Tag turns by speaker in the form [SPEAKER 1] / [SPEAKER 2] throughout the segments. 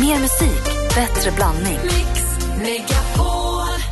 [SPEAKER 1] Mer musik, bättre blandning.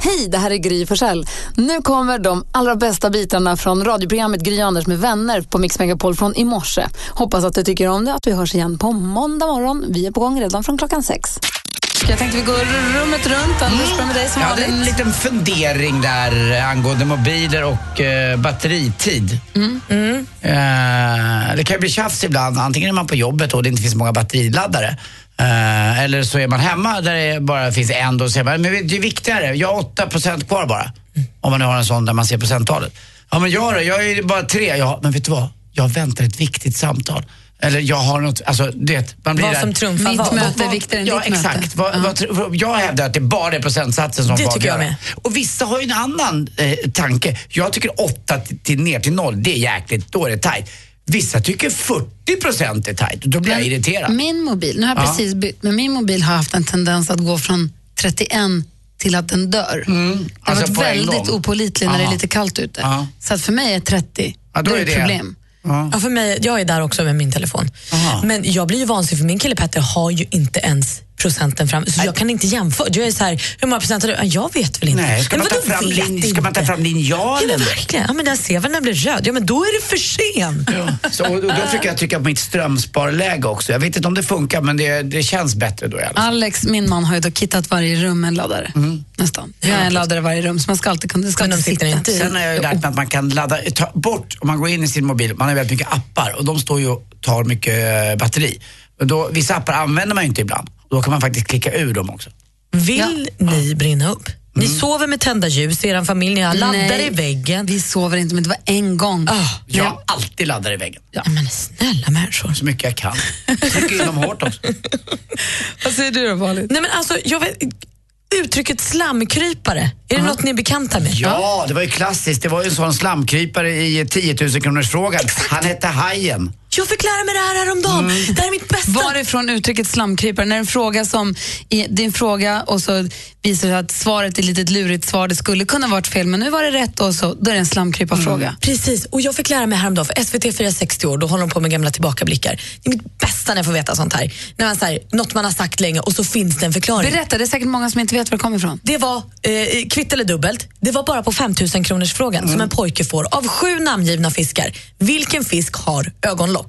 [SPEAKER 2] Hej, det här är Gry Forssell. Nu kommer de allra bästa bitarna från radioprogrammet Gry Anders med vänner på Mix Megapol från i morse. Hoppas att du tycker om det att vi hörs igen på måndag morgon. Vi är på gång redan från klockan sex. Mm. Jag tänkte vi går rummet runt. Anders, börjar med dig som
[SPEAKER 3] Jag hade en
[SPEAKER 2] vanligt.
[SPEAKER 3] liten fundering där eh, angående mobiler och eh, batteritid.
[SPEAKER 4] Mm.
[SPEAKER 3] Mm. Eh, det kan ju bli tjafs ibland. Antingen är man på jobbet och det inte finns många batteriladdare. Eh, eller så är man hemma där det bara finns en. Då och säger man, men det är viktigare, jag har 8% kvar bara. Om man nu har en sån där man ser procenttalet. Ja men jag då, jag är bara tre. Ja, men vet du vad? Jag väntar ett viktigt samtal. Eller jag har något, alltså du vet, man blir
[SPEAKER 4] Vad
[SPEAKER 3] där-
[SPEAKER 4] som trumfar
[SPEAKER 2] Mitt
[SPEAKER 4] vad.
[SPEAKER 2] möte är
[SPEAKER 3] vad-
[SPEAKER 2] viktigare än
[SPEAKER 3] ja,
[SPEAKER 2] ditt möte.
[SPEAKER 3] exakt. Vad, vad, tr- jag hävdar att det bara är procentsatsen som
[SPEAKER 4] Det
[SPEAKER 3] får
[SPEAKER 4] tycker jag
[SPEAKER 3] avgöra.
[SPEAKER 4] med.
[SPEAKER 3] Och vissa har ju en annan eh, tanke. Jag tycker 8 till, till ner till 0, det är jäkligt, då är det tajt. Vissa tycker 40 procent är tajt och då blir jag irriterad.
[SPEAKER 4] Mm.
[SPEAKER 5] Min mobil, nu har jag
[SPEAKER 3] Ja.
[SPEAKER 5] precis bytt, men min mobil har haft en tendens att gå från 31 till att den dör. Den har
[SPEAKER 3] alltså på en
[SPEAKER 5] varit väldigt
[SPEAKER 3] gång.
[SPEAKER 5] opålitlig när det
[SPEAKER 3] Ja.
[SPEAKER 5] är lite kallt ute.
[SPEAKER 3] Ja.
[SPEAKER 5] Så att för mig är 30,
[SPEAKER 3] Ja, då
[SPEAKER 5] det är
[SPEAKER 3] är
[SPEAKER 5] ett
[SPEAKER 3] det-
[SPEAKER 5] problem.
[SPEAKER 4] Ja, för mig, jag är där också med min telefon.
[SPEAKER 3] Aha.
[SPEAKER 4] Men jag blir ju vansinnig för min kille Petter har ju inte ens procenten fram. Så jag kan inte jämföra. Jag är så här, hur många procent har du? Ja, Jag vet väl inte.
[SPEAKER 3] Nej, ska,
[SPEAKER 4] Men
[SPEAKER 3] man ta
[SPEAKER 4] vadå
[SPEAKER 3] fram
[SPEAKER 4] vet
[SPEAKER 3] lin, ska man ta
[SPEAKER 4] inte? Ja,
[SPEAKER 3] fram linjalen?
[SPEAKER 4] men
[SPEAKER 3] då?
[SPEAKER 4] verkligen. Ja, men där ser väl när den blir röd. Ja, men då är det för sent.
[SPEAKER 3] Så, och då, då försöker jag trycka på mitt strömsparläge också. Jag vet inte om det funkar men det, det känns bättre då i alla fall.
[SPEAKER 5] Alex, min man, har ju då kittat varje rum en laddare. Nästan. Jag har en laddare i varje rum, så man ska alltid kunna ska
[SPEAKER 4] Mm. Men de
[SPEAKER 5] alltid
[SPEAKER 4] sitter
[SPEAKER 5] sitta.
[SPEAKER 4] inte i.
[SPEAKER 3] Sen har jag ju lärt mig att man kan ladda ta bort, om man går in i sin mobil, man har väldigt mycket appar och de står ju och tar mycket eh, batteri. Och Då, vissa appar använder man ju inte ibland. Då kan man faktiskt klicka ur dem också.
[SPEAKER 4] Vill ni brinna upp? Ni
[SPEAKER 3] Mm.
[SPEAKER 4] sover med tända ljus, er familj, ni har laddare
[SPEAKER 5] Nej.
[SPEAKER 4] i väggen.
[SPEAKER 5] Vi sover inte, men det var en gång.
[SPEAKER 4] Ah,
[SPEAKER 3] Jag alltid laddar i väggen.
[SPEAKER 4] ja. Men snälla människor.
[SPEAKER 3] Så mycket jag kan. Trycker in dem hårt också.
[SPEAKER 5] Vad säger du då, Malin?
[SPEAKER 4] Nej, men alltså, jag vet, uttrycket slamkrypare, är det något ni är bekanta med?
[SPEAKER 3] Ja, det var ju klassiskt. Det var ju en sån slamkrypare i 10 000 kronors frågan. Han hette Hajen.
[SPEAKER 4] Jag fick lära mig det här häromdagen.
[SPEAKER 3] Mm.
[SPEAKER 4] Det här är mitt bästa.
[SPEAKER 5] Varifrån uttrycket slamkrypare? När en fråga som, i- det är en fråga och så visar det sig att svaret är lite ett lurigt svar, det skulle kunna varit fel, men nu var det rätt och så, då är det en slamkryparfråga.
[SPEAKER 4] Precis, och jag fick lära mig häromdagen, för SVT firar 60 år, då håller de på med gamla tillbakablickar. Det är mitt bästa när jag får veta sånt här. När man, så här något man har sagt länge och så finns det en förklaring.
[SPEAKER 5] Berätta, det är säkert många som inte vet var det kommer ifrån.
[SPEAKER 4] Det var eh, kvitt eller dubbelt. Det var bara på 5000 kronors frågan som en pojke får av sju namngivna fiskar. Vilken fisk har ögonlock?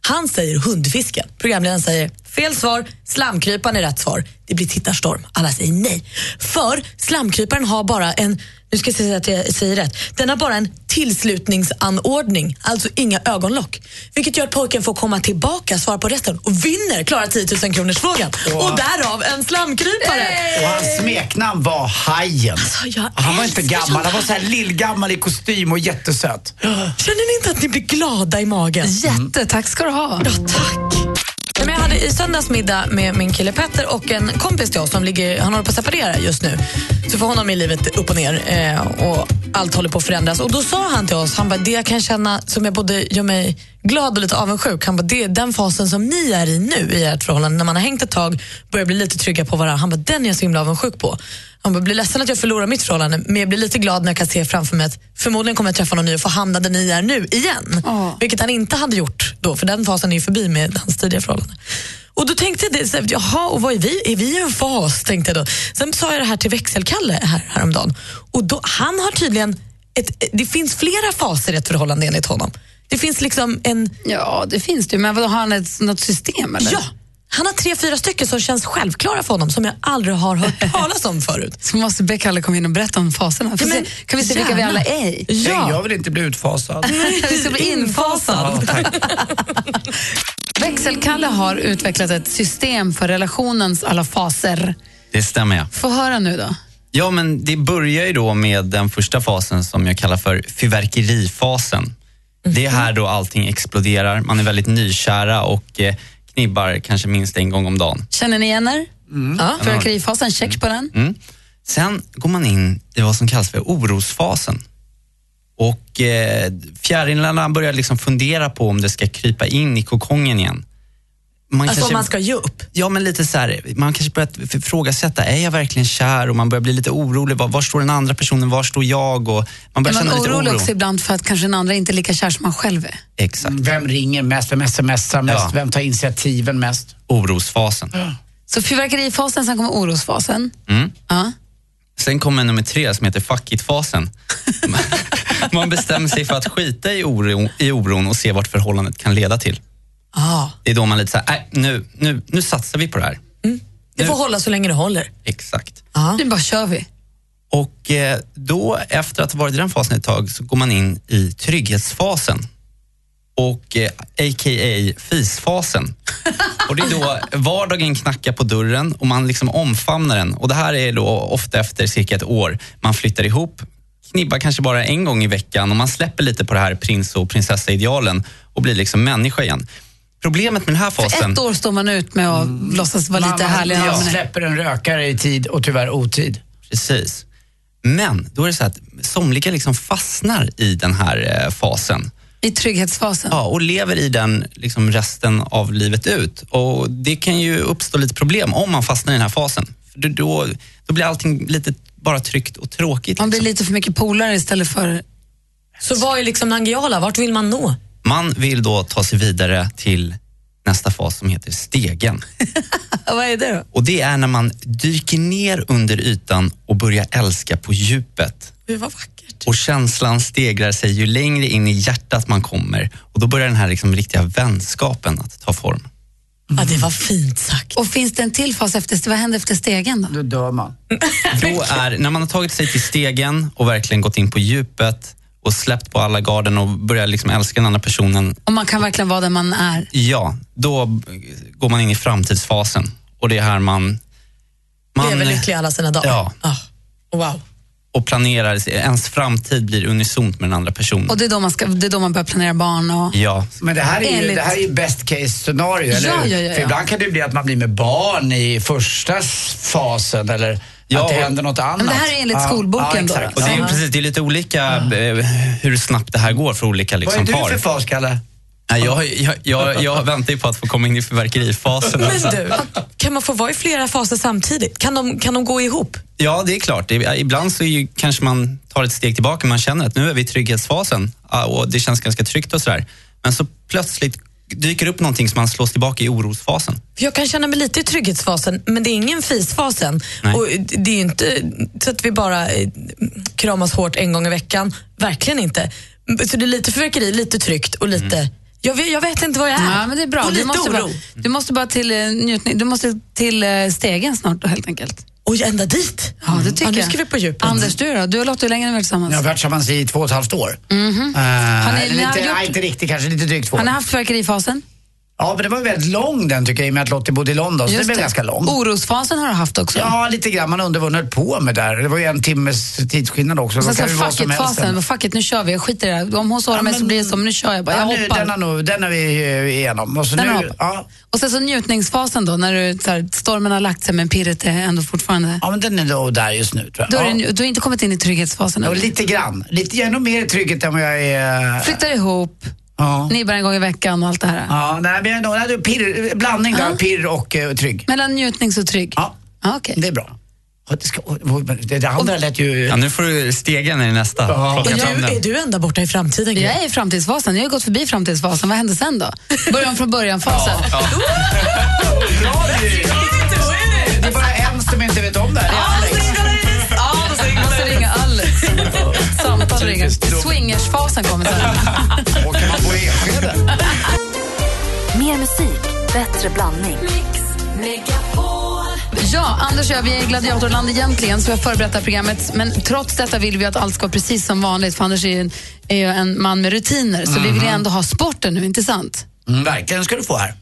[SPEAKER 4] Han säger hundfisken. Programledaren säger fel svar, slamkryparen är rätt svar. Det blir tittarstorm. Alla säger nej. För slamkryparen har bara en, nu ska jag se att jag säger rätt, den har bara en tillslutningsanordning, alltså inga ögonlock. Vilket gör att pojken får komma tillbaka, svara på resten och vinner, klarar 10 000 kronors frågan. Och därav en slamkrypare.
[SPEAKER 3] Och hans smeknamn var Hajen.
[SPEAKER 4] Alltså, jag
[SPEAKER 3] Han var inte
[SPEAKER 4] älskar
[SPEAKER 3] gammal.
[SPEAKER 4] sånt
[SPEAKER 3] Han var så här lillgammal i kostym och jättesöt.
[SPEAKER 4] Känner ni inte att ni blir glada i magen?
[SPEAKER 5] Jätte, tack ska du ha.
[SPEAKER 4] Ja, tack. Nej, men jag hade i söndags middag med min kille Petter och en kompis till oss som ligger, han håller på att separera just nu. Så för honom är livet upp och ner eh, och allt håller på att förändras. Och då sa han till oss, han bara, det jag kan känna som jag både gör mig glad och lite avundsjuk, han bara, det är den fasen som ni är i nu i ert förhållande, när man har hängt ett tag, börjar bli lite trygga på varandra. Han bara, den är jag så himla avundsjuk på. Han bara, blir ledsen att jag förlorar mitt förhållande, men jag blir lite glad när jag kan se framför mig att förmodligen kommer jag träffa någon ny och få hamna där ni är nu igen.
[SPEAKER 5] Ja.
[SPEAKER 4] Vilket han inte hade gjort då, för den fasen är ju förbi med hans tidigare förhållande. Och då tänkte jag, det, så här, jaha, och vad är vi? Är vi i en fas? Tänkte jag då. Sen sa jag det här till växelkalle här, häromdagen. Och då, han har tydligen, ett, det finns flera faser i ett förhållande enligt honom. Det finns liksom en,
[SPEAKER 5] Ja, det finns det ju, men vadå, har han ett, något system eller?
[SPEAKER 4] ja, han har tre, fyra stycken som känns självklara för honom som jag aldrig har hört talas om förut.
[SPEAKER 5] Så måste Beck alla komma in och berätta om faserna. Får
[SPEAKER 4] Ja, men
[SPEAKER 5] se, kan vi se vilka vi
[SPEAKER 4] gärna.
[SPEAKER 5] alla är i?
[SPEAKER 3] Nej, jag vill inte bli utfasad.
[SPEAKER 5] vi ska bli infasad.
[SPEAKER 3] Ja, tack.
[SPEAKER 5] Växelkalle har utvecklat ett system för relationens alla faser.
[SPEAKER 6] Det stämmer ja.
[SPEAKER 5] Få höra nu då.
[SPEAKER 6] Ja, men det börjar ju då med den första fasen som jag kallar för fyrverkerifasen. Det är här då allting exploderar, man är väldigt nykära och eh, knibbar kanske minst en gång om dagen.
[SPEAKER 5] Känner ni igen er?
[SPEAKER 4] Ja.
[SPEAKER 5] Fyrverkerifasen, check på den.
[SPEAKER 6] Mm. Sen går man in i vad som kallas för orosfasen. Och eh, fjärilarna börjar liksom fundera på om det ska krypa in i kokongen igen. Man
[SPEAKER 4] Alltså om
[SPEAKER 6] kanske-
[SPEAKER 4] man ska ge upp.
[SPEAKER 6] Ja, men lite så här, man kanske börjar f- ifrågasätta, är jag verkligen kär? Och man börjar bli lite orolig, var, var står den andra personen, var står jag? Och man
[SPEAKER 5] Är
[SPEAKER 6] börjar
[SPEAKER 5] man
[SPEAKER 6] känna lite
[SPEAKER 5] orolig
[SPEAKER 6] oro.
[SPEAKER 5] också Mm. ibland för att kanske den andra inte är lika kär som man själv är?
[SPEAKER 6] Exakt,
[SPEAKER 3] Vem ringer mest? Vem smsar mest?
[SPEAKER 6] Ja.
[SPEAKER 3] Vem tar initiativen mest?
[SPEAKER 6] orosfasen.
[SPEAKER 5] Så fyrverkerifasen, sen kommer orosfasen.
[SPEAKER 6] Mm.
[SPEAKER 5] Ja.
[SPEAKER 6] Sen kommer nummer tre som heter fuck it-fasen. Man bestämmer sig för att skita i, oro, i oron och se vart förhållandet kan leda till.
[SPEAKER 4] Ah,
[SPEAKER 6] Det är då man lite så här, "Nej, nu, nu, nu satsar vi på det här.
[SPEAKER 4] det får
[SPEAKER 6] Nu.
[SPEAKER 4] hålla så länge det håller.
[SPEAKER 6] Exakt.
[SPEAKER 4] Ah.
[SPEAKER 5] Nu bara kör vi.
[SPEAKER 6] Och eh, då, efter att ha varit i den fasen ett tag, så går man in i trygghetsfasen. Och eh, a.k.a. fisfasen. Och det är då vardagen knackar på dörren och man liksom omfamnar den. Och det här är då ofta efter cirka ett år. Man flyttar ihop, knibbar kanske bara en gång i veckan och man släpper lite på det här prins och prinsessa-idealen och blir liksom människa igen. Problemet med den här fasen...
[SPEAKER 5] Ett år står man ut med att låtsas vara lite härlig.
[SPEAKER 3] Man,
[SPEAKER 5] Ja.
[SPEAKER 3] man släpper en rökare i tid och tyvärr otid.
[SPEAKER 6] Precis. Men då är det så att somliga liksom fastnar i den här eh, fasen
[SPEAKER 5] I trygghetsfasen.
[SPEAKER 6] ja, och lever i den liksom resten av livet ut. Och Det kan ju uppstå lite problem om man fastnar i den här fasen. För då- då, då blir allting lite bara tryggt och tråkigt.
[SPEAKER 5] Man blir
[SPEAKER 6] liksom.
[SPEAKER 5] lite för mycket polare istället för...
[SPEAKER 4] Så vad är liksom Nangijala? Vart vill man nå?
[SPEAKER 6] Man vill då ta sig vidare till nästa fas som heter stegen.
[SPEAKER 5] Vad är det då?
[SPEAKER 6] Och Det är när man dyker ner under ytan och börjar älska på djupet.
[SPEAKER 4] Gud, vad vackert.
[SPEAKER 6] Och känslan stegrar sig ju längre in i hjärtat man kommer och då börjar den här liksom riktiga vänskapen att ta form.
[SPEAKER 4] Ja, det var fint sagt.
[SPEAKER 5] Och finns det en till fas efter, vad händer efter stegen då?
[SPEAKER 3] Då dör man.
[SPEAKER 6] Då är, när man har tagit sig till stegen och verkligen gått in på djupet och släppt på alla garden och börjar liksom älska den andra personen,
[SPEAKER 5] Om man kan verkligen vara där man är.
[SPEAKER 6] ja, då går man in i framtidsfasen. Och det är här man, man eh,
[SPEAKER 4] Lever lycklig alla sina dagar.
[SPEAKER 6] Ja.
[SPEAKER 4] Ah, Wow.
[SPEAKER 6] och planerar, ens framtid blir unisont med den andra personen.
[SPEAKER 5] Och det är då man, ska, det är då man börjar planera barn och...
[SPEAKER 6] Ja,
[SPEAKER 3] Men det här är ju,
[SPEAKER 5] Enligt-
[SPEAKER 3] det här är ju best case scenario, eller
[SPEAKER 5] Ja,
[SPEAKER 3] hur?
[SPEAKER 5] ja, ja,
[SPEAKER 3] För
[SPEAKER 5] ja.
[SPEAKER 3] ibland kan det ju bli att man blir med barn i första s- fasen eller
[SPEAKER 6] Ja,
[SPEAKER 3] att det
[SPEAKER 6] och-
[SPEAKER 3] händer något annat.
[SPEAKER 5] det här är enligt skolboken då,
[SPEAKER 3] ja,
[SPEAKER 5] då.
[SPEAKER 3] exakt.
[SPEAKER 6] och det är ju
[SPEAKER 3] Ja.
[SPEAKER 6] precis, det är lite olika eh, hur snabbt det här går för olika
[SPEAKER 3] Vad
[SPEAKER 6] liksom,
[SPEAKER 3] är du
[SPEAKER 6] par.
[SPEAKER 3] för fas, Kalle?
[SPEAKER 6] Nej, jag, jag, jag, jag väntar ju på att få komma in i fyrverkerifasen.
[SPEAKER 4] Men du, kan man få vara i flera faser samtidigt? Kan de, kan de gå ihop?
[SPEAKER 6] Ja, det är klart. I- Ibland så är ju, kanske man tar ett steg tillbaka. Man känner att nu är vi i trygghetsfasen ah, och det känns ganska tryggt och sådär. Men så plötsligt dyker upp någonting som man slås tillbaka i orosfasen.
[SPEAKER 4] För Jag kan känna mig lite i trygghetsfasen, men det är ingen fisfasen.
[SPEAKER 6] Nej.
[SPEAKER 4] Och det är ju inte så att vi bara eh, kramas hårt en gång i veckan. Verkligen inte. Så det är lite fyrverkeri, lite tryggt och lite...
[SPEAKER 6] Mm.
[SPEAKER 4] Jag, vet, jag vet inte vad jag är.
[SPEAKER 5] Ja, men det är bra.
[SPEAKER 4] Och
[SPEAKER 5] Du
[SPEAKER 4] lite
[SPEAKER 5] måste,
[SPEAKER 4] oro.
[SPEAKER 5] bara, du måste bara till eh, njutning, du måste till eh, stegen snart då helt enkelt. Mm.
[SPEAKER 4] Och ända dit.
[SPEAKER 5] Ja, det tycker
[SPEAKER 4] nu
[SPEAKER 5] jag.
[SPEAKER 4] ska vi på djupet.
[SPEAKER 5] Anders, du då? Du och Lotta, hur länge har ni varit tillsammans?
[SPEAKER 3] Ni har varit tillsammans i två och ett halvt år. Eh,
[SPEAKER 5] ni-
[SPEAKER 3] eller
[SPEAKER 5] ni har
[SPEAKER 3] lite,
[SPEAKER 5] gjort-
[SPEAKER 3] nej, inte riktigt, kanske lite drygt två.
[SPEAKER 5] Har ni haft fyrverkerifasen?
[SPEAKER 3] Ja, men det var väldigt lång den tycker jag i och med att Lottie bodde i London, så det
[SPEAKER 5] Just
[SPEAKER 3] blev ganska lång.
[SPEAKER 5] Orosfasen har du haft också.
[SPEAKER 3] Ja, lite grann. Man undrar vad hon höll på med där. Det var ju en timmes tidsskillnad också.
[SPEAKER 5] Och sen
[SPEAKER 3] Då
[SPEAKER 5] så
[SPEAKER 3] kan det ju vara
[SPEAKER 5] fuck
[SPEAKER 3] som helst sen.
[SPEAKER 5] it-fasen, fuck it, nu kör vi, jag skiter i det här. Om hon sårar mig så
[SPEAKER 3] men-
[SPEAKER 5] blir det som, nu kör jag bara, jag
[SPEAKER 3] Ja, nu,
[SPEAKER 5] hoppar.
[SPEAKER 3] den, har nog, den har vi eh, igenom. Och så
[SPEAKER 5] Den har
[SPEAKER 3] nu,
[SPEAKER 5] hoppat.
[SPEAKER 3] ja,
[SPEAKER 5] Och sen så njutningsfasen då, när du, så här, stormen har lagt sig men pirret är ändå fortfarande...
[SPEAKER 3] ja, men den är nog där just nu tror
[SPEAKER 5] Då
[SPEAKER 3] jag.
[SPEAKER 5] är
[SPEAKER 3] Ja.
[SPEAKER 5] du, du har inte kommit in i trygghetsfasen
[SPEAKER 3] Ja,
[SPEAKER 5] än.
[SPEAKER 3] lite grann. Lite, jag är nog mer i trycket än vad jag är... eh,
[SPEAKER 5] Flyttar ihop,
[SPEAKER 3] Ja.
[SPEAKER 5] nibbar en gång i veckan och allt det här.
[SPEAKER 3] Ja, nej, men jag är nog- nej, det är pirr, blandning där, pirr och eh, trygg.
[SPEAKER 5] Mellan njutnings och trygg?
[SPEAKER 3] Ja,
[SPEAKER 5] Ja, okej.
[SPEAKER 3] det är bra. Och Det, ska, och- men det, det andra lät ju...
[SPEAKER 6] Ja, nu får du stegen i nästa.
[SPEAKER 3] Ja.
[SPEAKER 6] Plocka
[SPEAKER 4] är,
[SPEAKER 6] fram
[SPEAKER 4] du, är
[SPEAKER 6] den.
[SPEAKER 4] du ända borta i framtiden? Gry?
[SPEAKER 5] Jag är i framtidsfasen, jag har ju gått förbi framtidsfasen. Vad hände sen då? Början från början-fasen.
[SPEAKER 3] Det är bara en som inte vet om det här.
[SPEAKER 5] Ja, då måste Alltså, ringa Alex. Samtal ringer. Swingersfasen kommer sen.
[SPEAKER 3] Och kan man bo i Enskede?
[SPEAKER 1] Mer musik, bättre blandning.
[SPEAKER 5] Ja, Anders och jag, vi är i gladiatorland egentligen, så vi har förberett det här programmet. Men trots detta vill vi att allt ska vara precis som vanligt, för Anders är ju en, är ju en man med rutiner. Så vi vill
[SPEAKER 3] Mhm.
[SPEAKER 5] ju ändå ha sporten nu, inte sant?
[SPEAKER 3] Mm, verkligen ska du få här.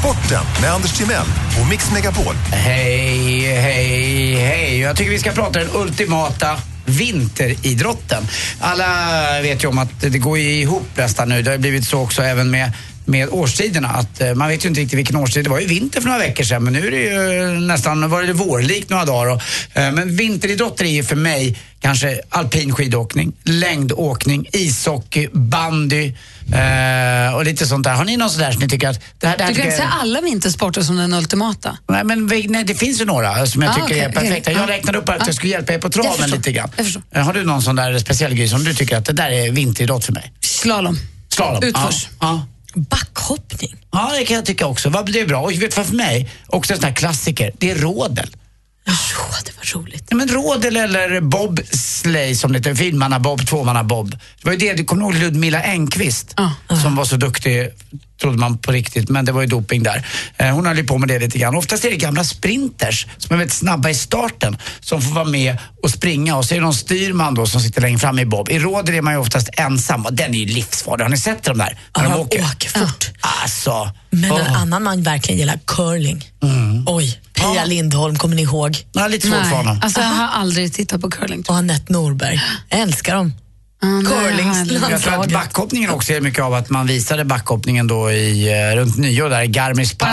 [SPEAKER 7] Sporten med Anders Timell och Mix Megapol.
[SPEAKER 3] Hej, hej, hej. Jag tycker vi ska prata den ultimata vinteridrotten. Alla vet ju om att det går ju ihop nästan nu. Det har ju blivit så också även med med årstiderna. Att eh, man vet ju inte riktigt vilken årstid. Det var ju vinter för några veckor sedan men nu är det ju nästan var det vårlikt några dagar. Och, eh, men vinteridrotter är ju för mig kanske alpin skidåkning, längdåkning, ishockey, bandy eh, och lite sånt där. Har ni någon sån där som ni tycker att det här, det här
[SPEAKER 5] Du kan
[SPEAKER 3] tycker
[SPEAKER 5] inte
[SPEAKER 3] jag-
[SPEAKER 5] säga alla vintersporter som den ultimata.
[SPEAKER 3] Nej, men vi- nej, det finns ju några som jag
[SPEAKER 5] Ah,
[SPEAKER 3] tycker är
[SPEAKER 5] okej,
[SPEAKER 3] perfekta.
[SPEAKER 5] okej.
[SPEAKER 3] Jag
[SPEAKER 5] Ah.
[SPEAKER 3] räknade upp att
[SPEAKER 5] Ah.
[SPEAKER 3] jag skulle hjälpa er på
[SPEAKER 5] Jag
[SPEAKER 3] traven
[SPEAKER 5] förstår.
[SPEAKER 3] lite grann.
[SPEAKER 5] Jag förstår.
[SPEAKER 3] Eh, Har du någon sån där speciell grej som du tycker att det där är vinteridrott för mig?
[SPEAKER 5] Slalom.
[SPEAKER 3] Slalom.
[SPEAKER 5] Utförs.
[SPEAKER 3] Ja, ja.
[SPEAKER 4] Backhoppning.
[SPEAKER 3] Ja, det kan jag tycka också. Vad- Det är bra. Och vet du vad för mig? Också en sån här klassiker. Det är rådel.
[SPEAKER 4] Oh, det var roligt.
[SPEAKER 3] Ja, men rådel eller bobsleigh som det heter, finmannabob, tvåmannabob. Det var ju det, du kommer ihåg Ludmilla Engqvist som var så duktig, trodde man på riktigt, men det var ju doping där. Eh, Hon höll ju på med det lite grann. Oftast är det gamla sprinters som är väldigt snabba i starten som får vara med och springa och så är det någon styrman då som sitter längre fram i bob. I rådel är man ju oftast ensam och den är ju livsfarlig. Har ni sett dem där? När
[SPEAKER 4] Ja,
[SPEAKER 3] de
[SPEAKER 4] han
[SPEAKER 3] åker?
[SPEAKER 4] åker fort.
[SPEAKER 3] Alltså.
[SPEAKER 4] Men
[SPEAKER 3] åh.
[SPEAKER 4] en annan man verkligen gillar, curling. Oj, Pia
[SPEAKER 3] Mm. Ja.
[SPEAKER 4] Lindholm, kommer ni ihåg?
[SPEAKER 3] Jag har lite svårt för honom.
[SPEAKER 5] Alltså, jag har aldrig tittat på curling. tror
[SPEAKER 4] Och Anette Norberg. Jag älskar dem.
[SPEAKER 5] jag. Ja, nej,
[SPEAKER 4] curling-
[SPEAKER 5] jag har aldrig-
[SPEAKER 3] Jag tror att
[SPEAKER 4] Anslaget.
[SPEAKER 3] backhoppningen också är mycket av att man visade backhoppningen då i, eh, runt nyår där i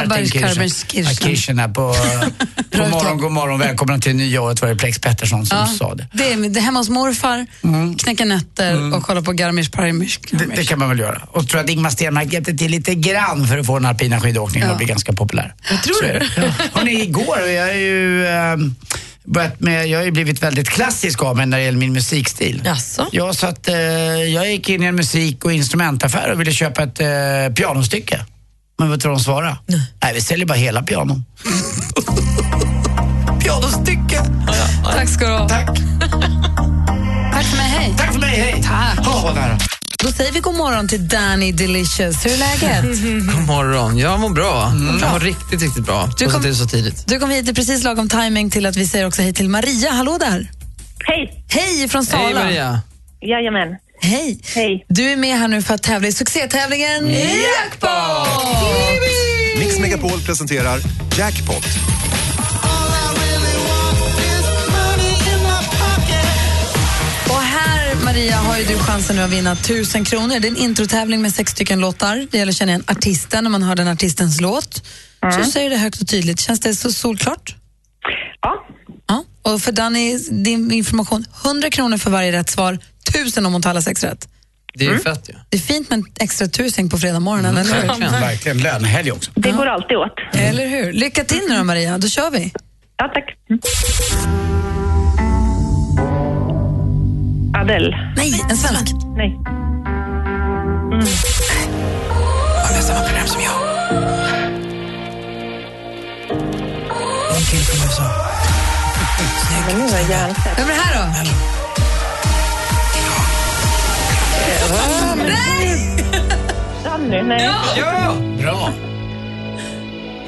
[SPEAKER 5] Garmisch-Partenkirchen.
[SPEAKER 3] Garmisch-Partenkirchen. Ja, på, eh, god morgon, god morgon, välkomna till nya året var det Plex Pettersson som
[SPEAKER 5] Ja,
[SPEAKER 3] sa det.
[SPEAKER 5] det är, det är hemma hos morfar, knäcka nötter och kolla på Garmisch Parmisch.
[SPEAKER 3] det. Det kan man väl göra. Och tror att Ingmar Stenmark hjälpte till lite grann för att få den alpina skidåkningen att bli ganska populär. Jag tror det. Ja. Hörrni, igår, och jag är ju... Eh, börjat med, jag har ju blivit väldigt klassisk av mig när det gäller min musikstil.
[SPEAKER 4] Jaså?
[SPEAKER 3] Ja, så att, eh, jag gick in i en musik och instrumentaffär och ville köpa ett eh, pianostycke. Men vet du vad de svarade? Nej. vi säljer bara hela pianon. pianostycke!
[SPEAKER 5] Tack ska du ha.
[SPEAKER 3] Tack.
[SPEAKER 5] Tack för mig, hej.
[SPEAKER 3] Tack för mig, hej! Tack! Oh, vad nära.
[SPEAKER 5] Då säger vi god morgon till Danny Delicious. Hur är läget?
[SPEAKER 8] God morgon. Jag mår bra. Jag mår riktigt, riktigt bra. Du
[SPEAKER 5] kom-
[SPEAKER 8] kom... det är så tidigt.
[SPEAKER 5] Du kom hit i precis lagom timing till att vi säger också hej till Maria. Hallå där!
[SPEAKER 9] Hej!
[SPEAKER 5] Hej från Sala!
[SPEAKER 8] Hej Maria.
[SPEAKER 9] Jajamän.
[SPEAKER 5] Hej.
[SPEAKER 9] Hej.
[SPEAKER 5] Du är med här nu för att tävla i succétävlingen Jackpot!
[SPEAKER 7] Mix Megapol presenterar Jackpot.
[SPEAKER 5] Och här, Maria, har ju du chansen nu att vinna 1000 kronor. Det är en introtävling med sex stycken låtar. Det gäller att känna igen artisten. När man hör den artistens låt så säger du det högt och tydligt. Känns det så solklart?
[SPEAKER 9] Ja,
[SPEAKER 5] Ja. Och för Danny, din information, 100 kronor för varje rätt svar. 1000 om hon tar alla sex rätt.
[SPEAKER 8] Det är ju fett ju.
[SPEAKER 5] Det är fint med en extra tusing på fredag morgonen, eller hur?
[SPEAKER 3] Verkligen lönehelg också.
[SPEAKER 9] det går alltid åt.
[SPEAKER 5] Eller hur? Lycka till nu då, Maria. Då kör vi.
[SPEAKER 9] Ja, tack. Mm. Adele.
[SPEAKER 5] Nej, en svensk.
[SPEAKER 9] Nej.
[SPEAKER 5] Vem är det här då?
[SPEAKER 9] Danny. Nej.
[SPEAKER 3] Bra.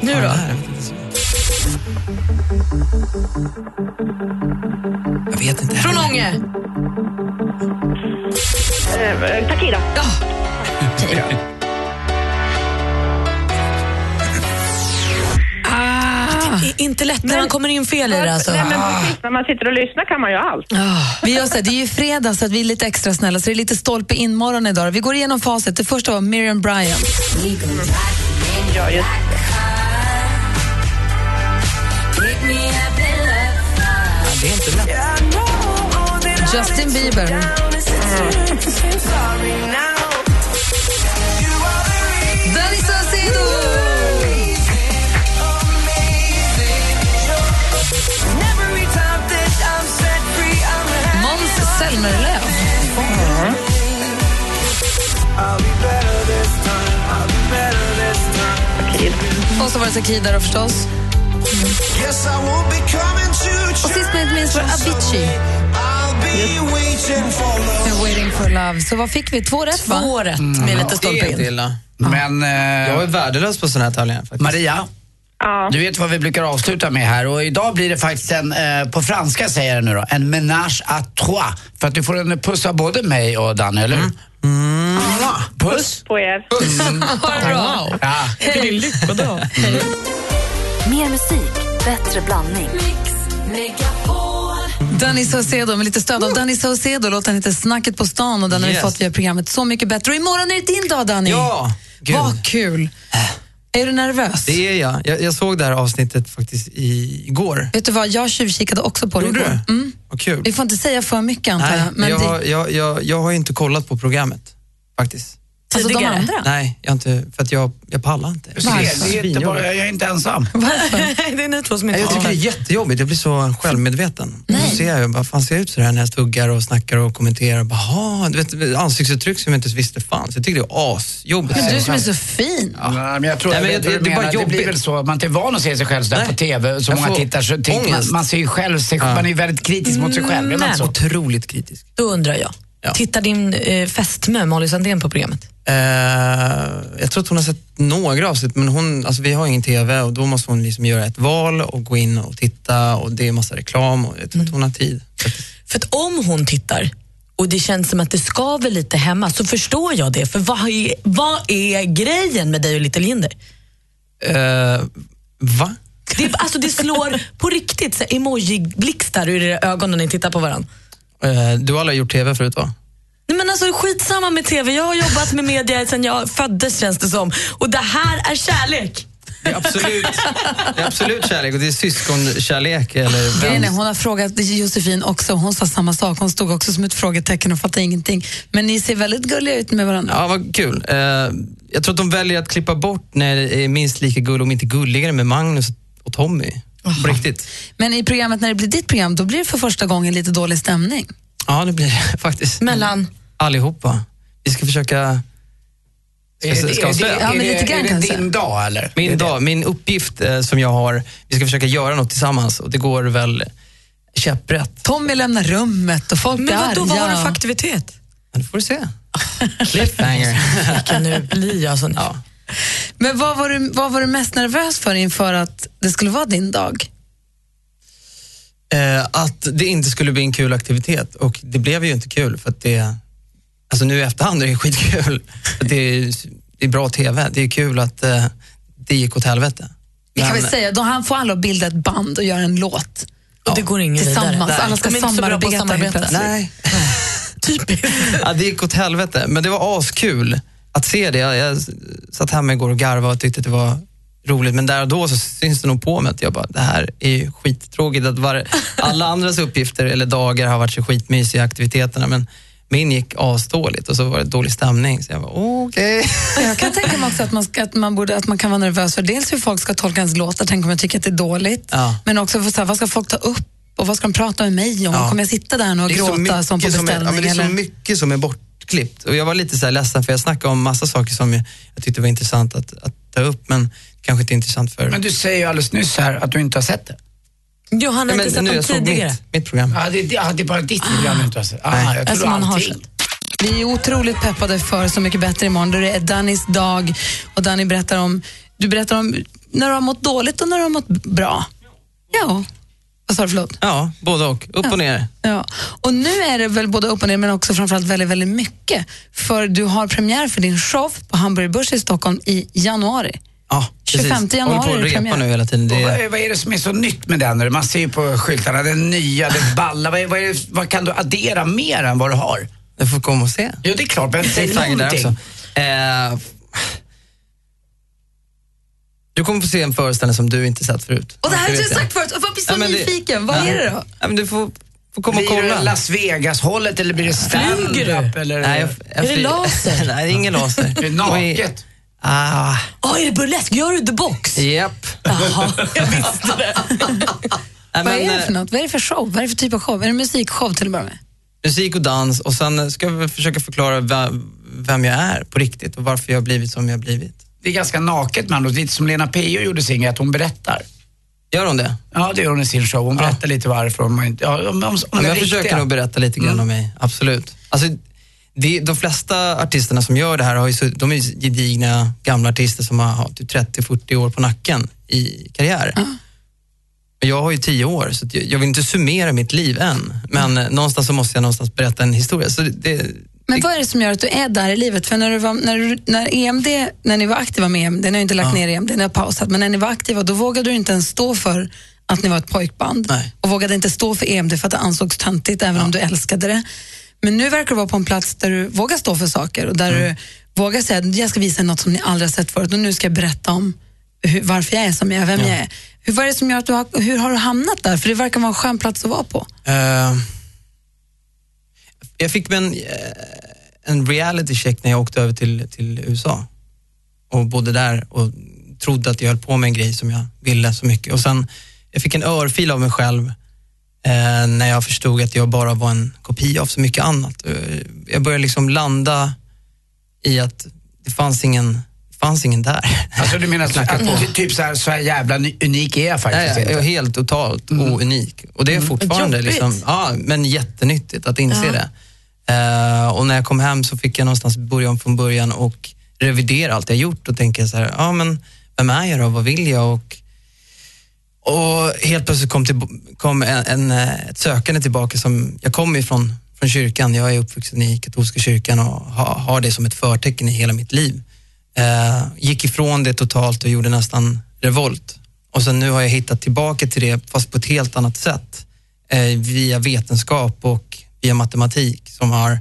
[SPEAKER 8] Nu då? Jag vet inte.
[SPEAKER 5] Från Ånge.
[SPEAKER 9] Eh, Takida.
[SPEAKER 4] I- Inte lätt när man kommer in fel i det. Alltså.
[SPEAKER 9] Nej, men precis. När man sitter och lyssnar kan man ju allt.
[SPEAKER 5] Vi gör så här, det är ju fredag så att vi är lite extra snälla, så det är lite stolpe in morgon idag. Vi går igenom facit. Det första var Miriam Bryant.
[SPEAKER 9] Ja, just.
[SPEAKER 5] Justin Bieber. Danny Saucedo! Måns Zelmerlöw.
[SPEAKER 9] Takid.
[SPEAKER 5] Och så var det Sakida då förstås. Och sist men inte minst var det Avicii. Med Waiting for love. Så vad fick vi? Två rätt va? Mm.
[SPEAKER 4] Två rätt med lite
[SPEAKER 8] Det
[SPEAKER 4] stolpe
[SPEAKER 8] är inte
[SPEAKER 4] in.
[SPEAKER 8] illa.
[SPEAKER 3] Men
[SPEAKER 8] Jag
[SPEAKER 3] eh,
[SPEAKER 8] är värdelös på såna här tävlingar faktiskt.
[SPEAKER 3] Maria,
[SPEAKER 9] Ja.
[SPEAKER 3] du vet vad vi brukar avsluta med här och idag blir det faktiskt en, eh, på franska säger jag nu då, en ménage à trois. För att du får en puss av både mig och Danny, eller hur?
[SPEAKER 8] Mm.
[SPEAKER 3] Puss!
[SPEAKER 9] På er.
[SPEAKER 8] Wow.
[SPEAKER 3] Ja.
[SPEAKER 1] Mer musik, bättre blandning.
[SPEAKER 5] Danny Saucedo med lite stöd av Danny Saucedo. Låten heter Snacket på stan och den har vi
[SPEAKER 8] Yes.
[SPEAKER 5] fått via programmet Så mycket bättre. Och imorgon är det din dag Danny.
[SPEAKER 8] Ja, gud.
[SPEAKER 5] Vad kul. Är du nervös?
[SPEAKER 8] Det är jag. jag. Jag såg det här avsnittet faktiskt i- igår.
[SPEAKER 5] Vet du vad, jag tjuvkikade också på det
[SPEAKER 8] Gjorde
[SPEAKER 5] igår.
[SPEAKER 8] du?
[SPEAKER 5] Mm.
[SPEAKER 8] Vad kul.
[SPEAKER 5] Vi får inte säga för mycket antar
[SPEAKER 8] Nej,
[SPEAKER 5] jag. Men
[SPEAKER 8] jag,
[SPEAKER 5] det,
[SPEAKER 8] jag, jag, jag har ju inte kollat på programmet faktiskt.
[SPEAKER 2] Alltså de
[SPEAKER 4] Tidigare.
[SPEAKER 2] andra?
[SPEAKER 8] Nej, jag har inte, för att jag, jag pallar inte.
[SPEAKER 3] Du ser, det är inte bara, jag är inte ensam.
[SPEAKER 4] det är ni två som inte
[SPEAKER 8] Nej, jag tycker det är jättejobbigt, jag blir så självmedveten. Nej. Då ser jag ju, vad fan ser jag ut sådär när jag tuggar och snackar och kommenterar? Bara, "Jaha", du vet, ansiktsuttryck som jag inte ens visste fanns. Jag tycker det är asjobbigt.
[SPEAKER 2] Men du som är så fin.
[SPEAKER 3] Nej, men jag tror
[SPEAKER 8] Nej, men
[SPEAKER 3] jag,
[SPEAKER 8] jag-
[SPEAKER 3] vet vad
[SPEAKER 8] det
[SPEAKER 3] du
[SPEAKER 8] är bara
[SPEAKER 3] menar. det blir
[SPEAKER 8] jobbigt.
[SPEAKER 3] väl så, man är inte van att se sig själv sådär
[SPEAKER 8] Nej.
[SPEAKER 3] på TV, så
[SPEAKER 8] Jag
[SPEAKER 3] många
[SPEAKER 8] får
[SPEAKER 3] tittar så tänker man,
[SPEAKER 8] ångest. Mm,
[SPEAKER 3] man ser ju själv, sig, man är ju väldigt kritisk mot sig själv, är man inte så?
[SPEAKER 8] Alltså, Otroligt kritisk.
[SPEAKER 4] Då undrar jag,
[SPEAKER 8] Ja.
[SPEAKER 4] tittar din eh, fästmö Molly Sandén på programmet?
[SPEAKER 8] Eh, jag tror att hon har sett några avsnitt, men hon, alltså vi har ingen TV och då måste hon liksom göra ett val och gå in och titta och det är massa reklam och jag tror inte hon har tid. Så att-
[SPEAKER 4] För att om hon tittar och det känns som att det skaver lite hemma så förstår jag det. För vad är, vad är grejen med dig och Little Jinder?
[SPEAKER 8] Eh, va?
[SPEAKER 4] Det, alltså det slår på riktigt så här emoji-blixtar ur era ögon när ni tittar på varandra.
[SPEAKER 8] Eh, du har aldrig gjort TV förut va?
[SPEAKER 4] Nej, men alltså, skitsamma med TV, jag har jobbat med media sedan jag föddes känns det som. Och det här är kärlek.
[SPEAKER 8] Det är absolut, det är absolut kärlek och det är syskonkärlek eller
[SPEAKER 5] Grejen är,
[SPEAKER 8] vän.
[SPEAKER 5] hon har frågat Josefin också, hon sa samma sak. Hon stod också som ett frågetecken och fattade ingenting. Men ni ser väldigt gulliga ut med varandra.
[SPEAKER 8] Ja, vad kul. Eh, jag tror att de väljer att klippa bort när det är minst lika gull, om inte gulligare, med Magnus och Tommy. På riktigt.
[SPEAKER 5] Men i programmet, när det blir ditt program, då blir det för första gången lite dålig stämning.
[SPEAKER 8] Ja, det blir det faktiskt.
[SPEAKER 4] Mellan?
[SPEAKER 8] Allihopa. Vi ska försöka... Ska,
[SPEAKER 3] Är det-
[SPEAKER 8] ska
[SPEAKER 3] är det-
[SPEAKER 8] avslöja.
[SPEAKER 5] Ja, men
[SPEAKER 3] är det-
[SPEAKER 5] lite grann
[SPEAKER 3] är det
[SPEAKER 5] kanske.
[SPEAKER 3] din dag eller? Är
[SPEAKER 8] Min,
[SPEAKER 3] det-
[SPEAKER 8] dag, min uppgift eh, som jag har, vi ska försöka göra något tillsammans och det går väl käpprätt.
[SPEAKER 5] Tommy lämnar rummet och folk blir
[SPEAKER 4] Men vadå, vad har du
[SPEAKER 5] arga.
[SPEAKER 4] för aktivitet?
[SPEAKER 8] Men det får du se. Cliffhanger.
[SPEAKER 4] Vilken nu blir jag sån. Ja.
[SPEAKER 5] Men vad var, du, vad var du mest nervös för inför att det skulle vara din dag?
[SPEAKER 8] Eh, att det inte skulle bli en kul aktivitet och det blev ju inte kul för att det, alltså nu i efterhand är det skitkul. För att det, är, det är bra TV, det är kul att eh, det gick åt helvete.
[SPEAKER 5] Vi kan
[SPEAKER 8] Men-
[SPEAKER 5] väl säga, då han får alla att bilda ett band och göra en låt.
[SPEAKER 4] Och det går ingen
[SPEAKER 5] Tillsammans,
[SPEAKER 4] vidare.
[SPEAKER 5] alla ska
[SPEAKER 4] De är inte så bra på att
[SPEAKER 5] samarbeta helt
[SPEAKER 4] samarbeta.
[SPEAKER 5] plötsligt.
[SPEAKER 8] Nej,
[SPEAKER 4] Typiskt.
[SPEAKER 8] ja, det gick åt helvete, men det var askul att se det. Jag, jag satt hemma igår och garvade och tyckte att det var roligt, men där och då så syns det nog på mig att jag bara, det här är ju skittråkigt. Att var, alla andras uppgifter eller dagar har varit så skitmysiga aktiviteterna, men min gick asdåligt och så var det dålig stämning. Så jag var
[SPEAKER 5] Eh,
[SPEAKER 8] okej.
[SPEAKER 5] Jag kan tänka mig också att man, ska, att, man borde, att man kan vara nervös för dels hur folk ska tolka ens låtar, tänk om jag tycker att det är dåligt.
[SPEAKER 8] Ja.
[SPEAKER 5] Men också för så här, vad ska folk ta upp och vad ska de prata med mig om?
[SPEAKER 8] Ja.
[SPEAKER 5] Kommer jag sitta där nu och
[SPEAKER 8] Det är så
[SPEAKER 5] gråta som på
[SPEAKER 8] mycket
[SPEAKER 5] beställning?
[SPEAKER 8] är, ja, men det är så
[SPEAKER 5] eller?
[SPEAKER 8] mycket som är bortklippt. Och jag var lite så här ledsen för jag snackade om massa saker som jag, jag tyckte var intressant att, att ta upp, men kanske inte intressant för...
[SPEAKER 3] Men du säger ju alldeles nyss här att du inte har sett det.
[SPEAKER 4] Johanna har
[SPEAKER 8] Nej,
[SPEAKER 4] inte sett
[SPEAKER 8] nu,
[SPEAKER 4] dem
[SPEAKER 8] jag såg
[SPEAKER 4] tidigare.
[SPEAKER 8] mitt, mitt program.
[SPEAKER 3] Ja, det, det, ah, det är bara ditt program du inte har sett. Ah, jag
[SPEAKER 4] Alltså,
[SPEAKER 3] tror
[SPEAKER 4] man har
[SPEAKER 3] allting.
[SPEAKER 4] sett.
[SPEAKER 5] Vi är otroligt peppade för Så mycket bättre imorgon. Då det är Dannys dag och Danny berättar om, du berättar om när du har mått dåligt och när du har mått bra. Ja. Vad sa du, förlåt?
[SPEAKER 8] Ja, både och. Upp och ner.
[SPEAKER 5] Ja. Och nu är det väl både upp och ner men också framförallt väldigt, väldigt mycket. För du har premiär för din show på Hamburger Börs i Stockholm i januari.
[SPEAKER 8] Ja,
[SPEAKER 5] 25 januari
[SPEAKER 8] Håller
[SPEAKER 5] är
[SPEAKER 8] på
[SPEAKER 5] det
[SPEAKER 8] att repa
[SPEAKER 5] premiär.
[SPEAKER 8] nu hela tiden.
[SPEAKER 3] Och
[SPEAKER 8] Det,
[SPEAKER 3] vad, är- vad är det som är så nytt med den? Man ser ju på skyltarna, den nya, den balla. Vad, är, vad, är det, vad kan du addera mer än vad du har?
[SPEAKER 8] jag får komma och se.
[SPEAKER 3] Jo, det är klart, men
[SPEAKER 8] Det är
[SPEAKER 3] säg
[SPEAKER 8] taggad där också.
[SPEAKER 3] någonting.
[SPEAKER 8] Eh, du kommer få se en föreställning som du inte sett förut.
[SPEAKER 5] Och det här har
[SPEAKER 8] vet
[SPEAKER 5] jag
[SPEAKER 8] jag.
[SPEAKER 5] sagt förut, och jag blir så
[SPEAKER 8] Ja, men det-
[SPEAKER 5] nyfiken. Vad
[SPEAKER 8] ja.
[SPEAKER 5] är det då?
[SPEAKER 8] Ja, men du får, får komma och
[SPEAKER 3] Blir
[SPEAKER 8] kolla.
[SPEAKER 3] det Las Vegas-hållet eller blir det stand-up? Eller?
[SPEAKER 8] Nej, jag, jag
[SPEAKER 4] Är det laser?
[SPEAKER 8] Nej, det är ingen laser.
[SPEAKER 3] Det är
[SPEAKER 8] Och i-
[SPEAKER 3] naket.
[SPEAKER 8] Ah,
[SPEAKER 4] Åh, är det burlesk? Gör du the box?
[SPEAKER 8] japp.
[SPEAKER 4] Jaha, jag visste det.
[SPEAKER 8] Nej,
[SPEAKER 5] Vad är
[SPEAKER 8] men,
[SPEAKER 5] det för
[SPEAKER 8] eh,
[SPEAKER 5] något? Vad är det för show? Vad är det för typ av show? Är det musikshow till att börja med?
[SPEAKER 8] Musik och dans och sen ska vi försöka förklara vem, vem jag är på riktigt och varför jag har blivit som jag har blivit.
[SPEAKER 3] Det är ganska naket man, lite som Lena Pio gjorde sin grej, att hon berättar.
[SPEAKER 8] Gör hon det?
[SPEAKER 3] Ja, det gör hon i sin show. Hon
[SPEAKER 8] Ja.
[SPEAKER 3] berättar lite varför. Om, man inte- ja, om, om, om
[SPEAKER 8] Ja,
[SPEAKER 3] det
[SPEAKER 8] men jag
[SPEAKER 3] riktiga.
[SPEAKER 8] försöker nog berätta lite grann om mig, absolut. Alltså, det, de flesta artisterna som gör det här har ju, sutt- de är ju gedigna gamla artister som har haft typ 30-40 år på nacken i karriär. Men Jag har ju 10 år, så att jag, jag vill inte summera mitt liv än. Men eh, någonstans så måste jag någonstans berätta en historia. Så det, det,
[SPEAKER 5] Men vad är det som gör att du är där i livet? För när, du var, när, du, när EMD, när ni var aktiva med EMD, ni har ju inte lagt ner EMD, ni har pausat, men när ni var aktiva då vågade du inte ens stå för att ni var ett pojkband
[SPEAKER 8] Nej.
[SPEAKER 5] och vågade inte stå för EMD för att det ansågs töntigt även om du älskade det. Men nu verkar du vara på en plats där du vågar stå för saker och där du vågar säga att jag ska visa något som ni aldrig har sett förut och nu ska jag berätta om hur, varför jag är som jag är, vem jag är. Hur, vad är det som gör att du har, hur har du hamnat där? För det verkar vara en skön plats att vara på.
[SPEAKER 8] Eh, jag fick mig en, eh, en reality check när jag åkte över till, till USA och bodde där och trodde att jag höll på med en grej som jag ville så mycket. Och sen, jag fick en örfil av mig själv eh, när jag förstod att jag bara var en kopia av så mycket annat. Eh, Jag började liksom landa i att det fanns ingen, det fanns ingen där.
[SPEAKER 3] Alltså du menar så,
[SPEAKER 8] Knacka på.
[SPEAKER 3] att, ty- typ så här, så här jävla ny- unik är jag
[SPEAKER 8] Nej,
[SPEAKER 3] faktiskt
[SPEAKER 8] jag är
[SPEAKER 3] inte. Mm.
[SPEAKER 8] helt totalt ounik. Och det är fortfarande
[SPEAKER 4] Jobbigt.
[SPEAKER 8] liksom, ja, men jättenyttigt att inse det. Eh, och när jag kom hem så fick jag någonstans börja om från början och revidera allt jag gjort och tänka så här, ja men vem är jag då, vad vill jag och och helt plötsligt kom, till, kom en, en, eh, ett sökande tillbaka som, jag kommer ifrån från kyrkan, jag är uppvuxen i katolska kyrkan och ha, har det som ett förtecken i hela mitt liv. Eh, gick ifrån det totalt och gjorde nästan revolt. Och sen nu har jag hittat tillbaka till det fast på ett helt annat sätt. Eh, via vetenskap och via matematik som har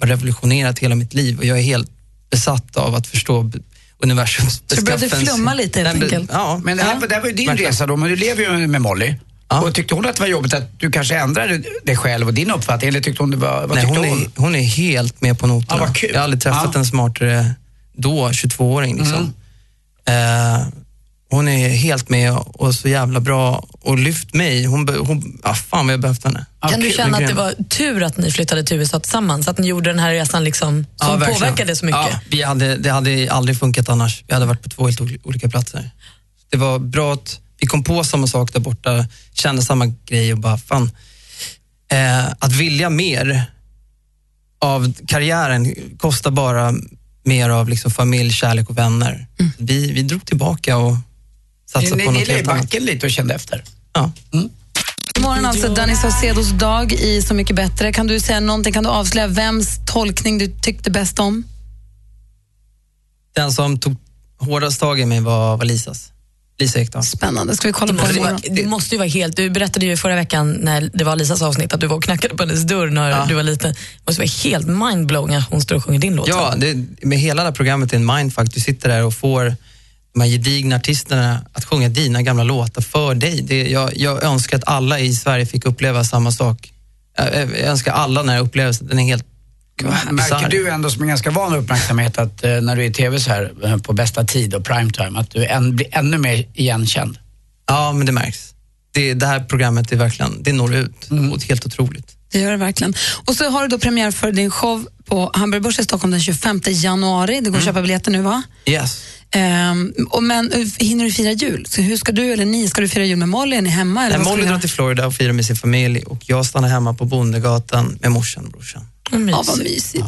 [SPEAKER 8] bara revolutionerat hela mitt liv och jag är helt besatt av att förstå b- universums
[SPEAKER 5] Så du började
[SPEAKER 8] beskaffens-
[SPEAKER 5] flumma lite, helt
[SPEAKER 8] Nej, men-
[SPEAKER 5] enkelt?
[SPEAKER 8] Ja,
[SPEAKER 3] Men det här, det här var ju din
[SPEAKER 8] Verkligen.
[SPEAKER 3] resa då, men du lever ju med Molly.
[SPEAKER 8] Ja.
[SPEAKER 3] Och tyckte hon att det var jobbigt att du kanske ändrade dig själv och din uppfattning? Eller tyckte hon det var, vad
[SPEAKER 8] Nej,
[SPEAKER 3] tyckte
[SPEAKER 8] hon, är, hon är helt med på noterna.
[SPEAKER 3] Ja, vad kul.
[SPEAKER 8] Jag har aldrig träffat
[SPEAKER 3] Ja.
[SPEAKER 8] en smartare då, 22-åring. Liksom.
[SPEAKER 3] Mm.
[SPEAKER 8] Eh, hon är helt med och så jävla bra och lyft mig. Hon, be- hon, ah, fan vad jag behövt henne.
[SPEAKER 3] Ja,
[SPEAKER 4] kan du
[SPEAKER 3] kul.
[SPEAKER 4] känna att det
[SPEAKER 8] Grym.
[SPEAKER 4] var tur att ni flyttade till USA tillsammans? Att ni gjorde den här resan liksom,
[SPEAKER 8] Ja,
[SPEAKER 4] som
[SPEAKER 8] verkligen.
[SPEAKER 4] påverkade så mycket?
[SPEAKER 8] Ja, vi hade, det hade aldrig funkat annars. Vi hade varit på två helt ol- olika platser. Det var bra att vi kom på samma sak där borta, kände samma grej och bara fan. Eh, att vilja mer av karriären kostar bara mer av liksom familj, kärlek och vänner.
[SPEAKER 4] Mm.
[SPEAKER 8] Vi, vi drog tillbaka och satsade
[SPEAKER 3] Ni,
[SPEAKER 8] alltså, på
[SPEAKER 3] ni, ni
[SPEAKER 8] något
[SPEAKER 3] la i
[SPEAKER 8] helt annat.
[SPEAKER 3] backen lite och kände efter.
[SPEAKER 8] Ja.
[SPEAKER 5] Imorgon alltså Danny Saucedos dag i Så mycket bättre. Kan du säga någonting, kan du avslöja vems tolkning du tyckte bäst om?
[SPEAKER 8] Den som tog hårdast tag i mig var, var Lisas. Lisa Ekdahl.
[SPEAKER 5] Spännande, ska vi kolla
[SPEAKER 4] Det
[SPEAKER 5] på
[SPEAKER 4] måste, ju
[SPEAKER 5] imorgon?
[SPEAKER 4] vara, det måste ju vara helt... Du berättade ju förra veckan när det var Lisas avsnitt att du var och knackade på hennes dörr när
[SPEAKER 8] Ja.
[SPEAKER 4] du var liten. Det måste vara helt mindblowing att hon står och sjunger din låt.
[SPEAKER 8] Ja, det, med hela det här programmet är en mindfuck. Du sitter där och får de här gedigna artisterna att sjunga dina gamla låtar för dig. Det, jag, jag önskar att alla i Sverige fick uppleva samma sak. Jag, jag jag önskar alla den här upplevelsen. Den är helt
[SPEAKER 3] Märker
[SPEAKER 8] bizarr.
[SPEAKER 3] du ändå som är ganska van uppmärksamhet att eh, när du är i tv så här eh, på bästa tid och primetime att du än, blir ännu mer igenkänd?
[SPEAKER 8] Ja, men det märks. Det, det här programmet är verkligen, det når ut. Och det är helt otroligt.
[SPEAKER 5] Det gör det verkligen. Och så har du då premiär för din show på Hamburgbörsen i Stockholm den 25 januari. Det går
[SPEAKER 8] Mm.
[SPEAKER 5] att köpa biljetter nu va?
[SPEAKER 8] Yes.
[SPEAKER 5] Ehm, och men eh, hinner du fira jul? Så hur ska du eller ni, ska du fira jul med Molly? Är ni hemma? Eller
[SPEAKER 8] Nej,
[SPEAKER 5] vad ska
[SPEAKER 8] Molly
[SPEAKER 5] ni
[SPEAKER 8] drar
[SPEAKER 5] göra?
[SPEAKER 8] till Florida och firar med sin familj och jag stannar hemma på Bondegatan med morsan och brorsan.
[SPEAKER 4] Vad mysigt.
[SPEAKER 5] Ja, vad mysigt.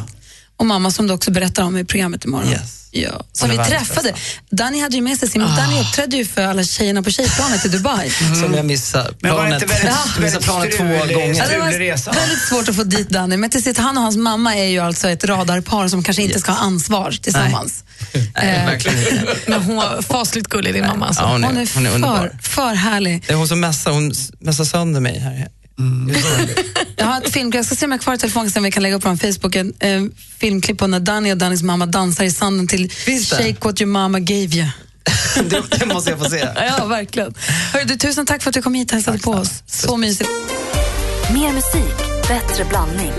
[SPEAKER 5] Och mamma som du också berättar om i programmet imorgon.
[SPEAKER 8] Yes.
[SPEAKER 5] Ja. Som
[SPEAKER 8] är
[SPEAKER 5] vi
[SPEAKER 8] världens Ah.
[SPEAKER 5] träffade. Danny hade ju med sig sin... Danny uppträdde ju för alla tjejerna på tjejplanet i Dubai.
[SPEAKER 8] Som jag missar
[SPEAKER 3] Men var det
[SPEAKER 8] planet,
[SPEAKER 3] inte väldigt,
[SPEAKER 8] jag missar
[SPEAKER 3] väldigt
[SPEAKER 8] planet två
[SPEAKER 3] strulig,
[SPEAKER 8] gånger.
[SPEAKER 5] Ja, det var
[SPEAKER 3] strulig resa?
[SPEAKER 5] väldigt svårt att få dit Danny, men till sist, han och hans mamma är ju alltså ett radarpar som kanske inte ska ha ansvar tillsammans. Eh,
[SPEAKER 8] Nej, verkligen inte.
[SPEAKER 4] Men hon var fasligt gullig din mamma. Alltså.
[SPEAKER 8] Ja, hon, är,
[SPEAKER 5] Hon är,
[SPEAKER 8] hon är underbar.
[SPEAKER 5] för, för härlig.
[SPEAKER 8] Det är hon som mässar, hon s- mässar sönder mig här.
[SPEAKER 5] Jag har ett filmklipp, jag ska se om jag har kvar i telefonen sen vi kan lägga upp på vår Facebook, en eh, filmklipp på när Danny och Dannys mamma dansar i sanden till
[SPEAKER 8] Finns det?
[SPEAKER 5] Shake What Your Mama Gave You.
[SPEAKER 8] det, det måste jag få se.
[SPEAKER 5] Ja, verkligen. Hörru, du, tusen tack för att du kom hit och hälsade på oss. Så mysigt.
[SPEAKER 1] Mer musik, bättre blandning.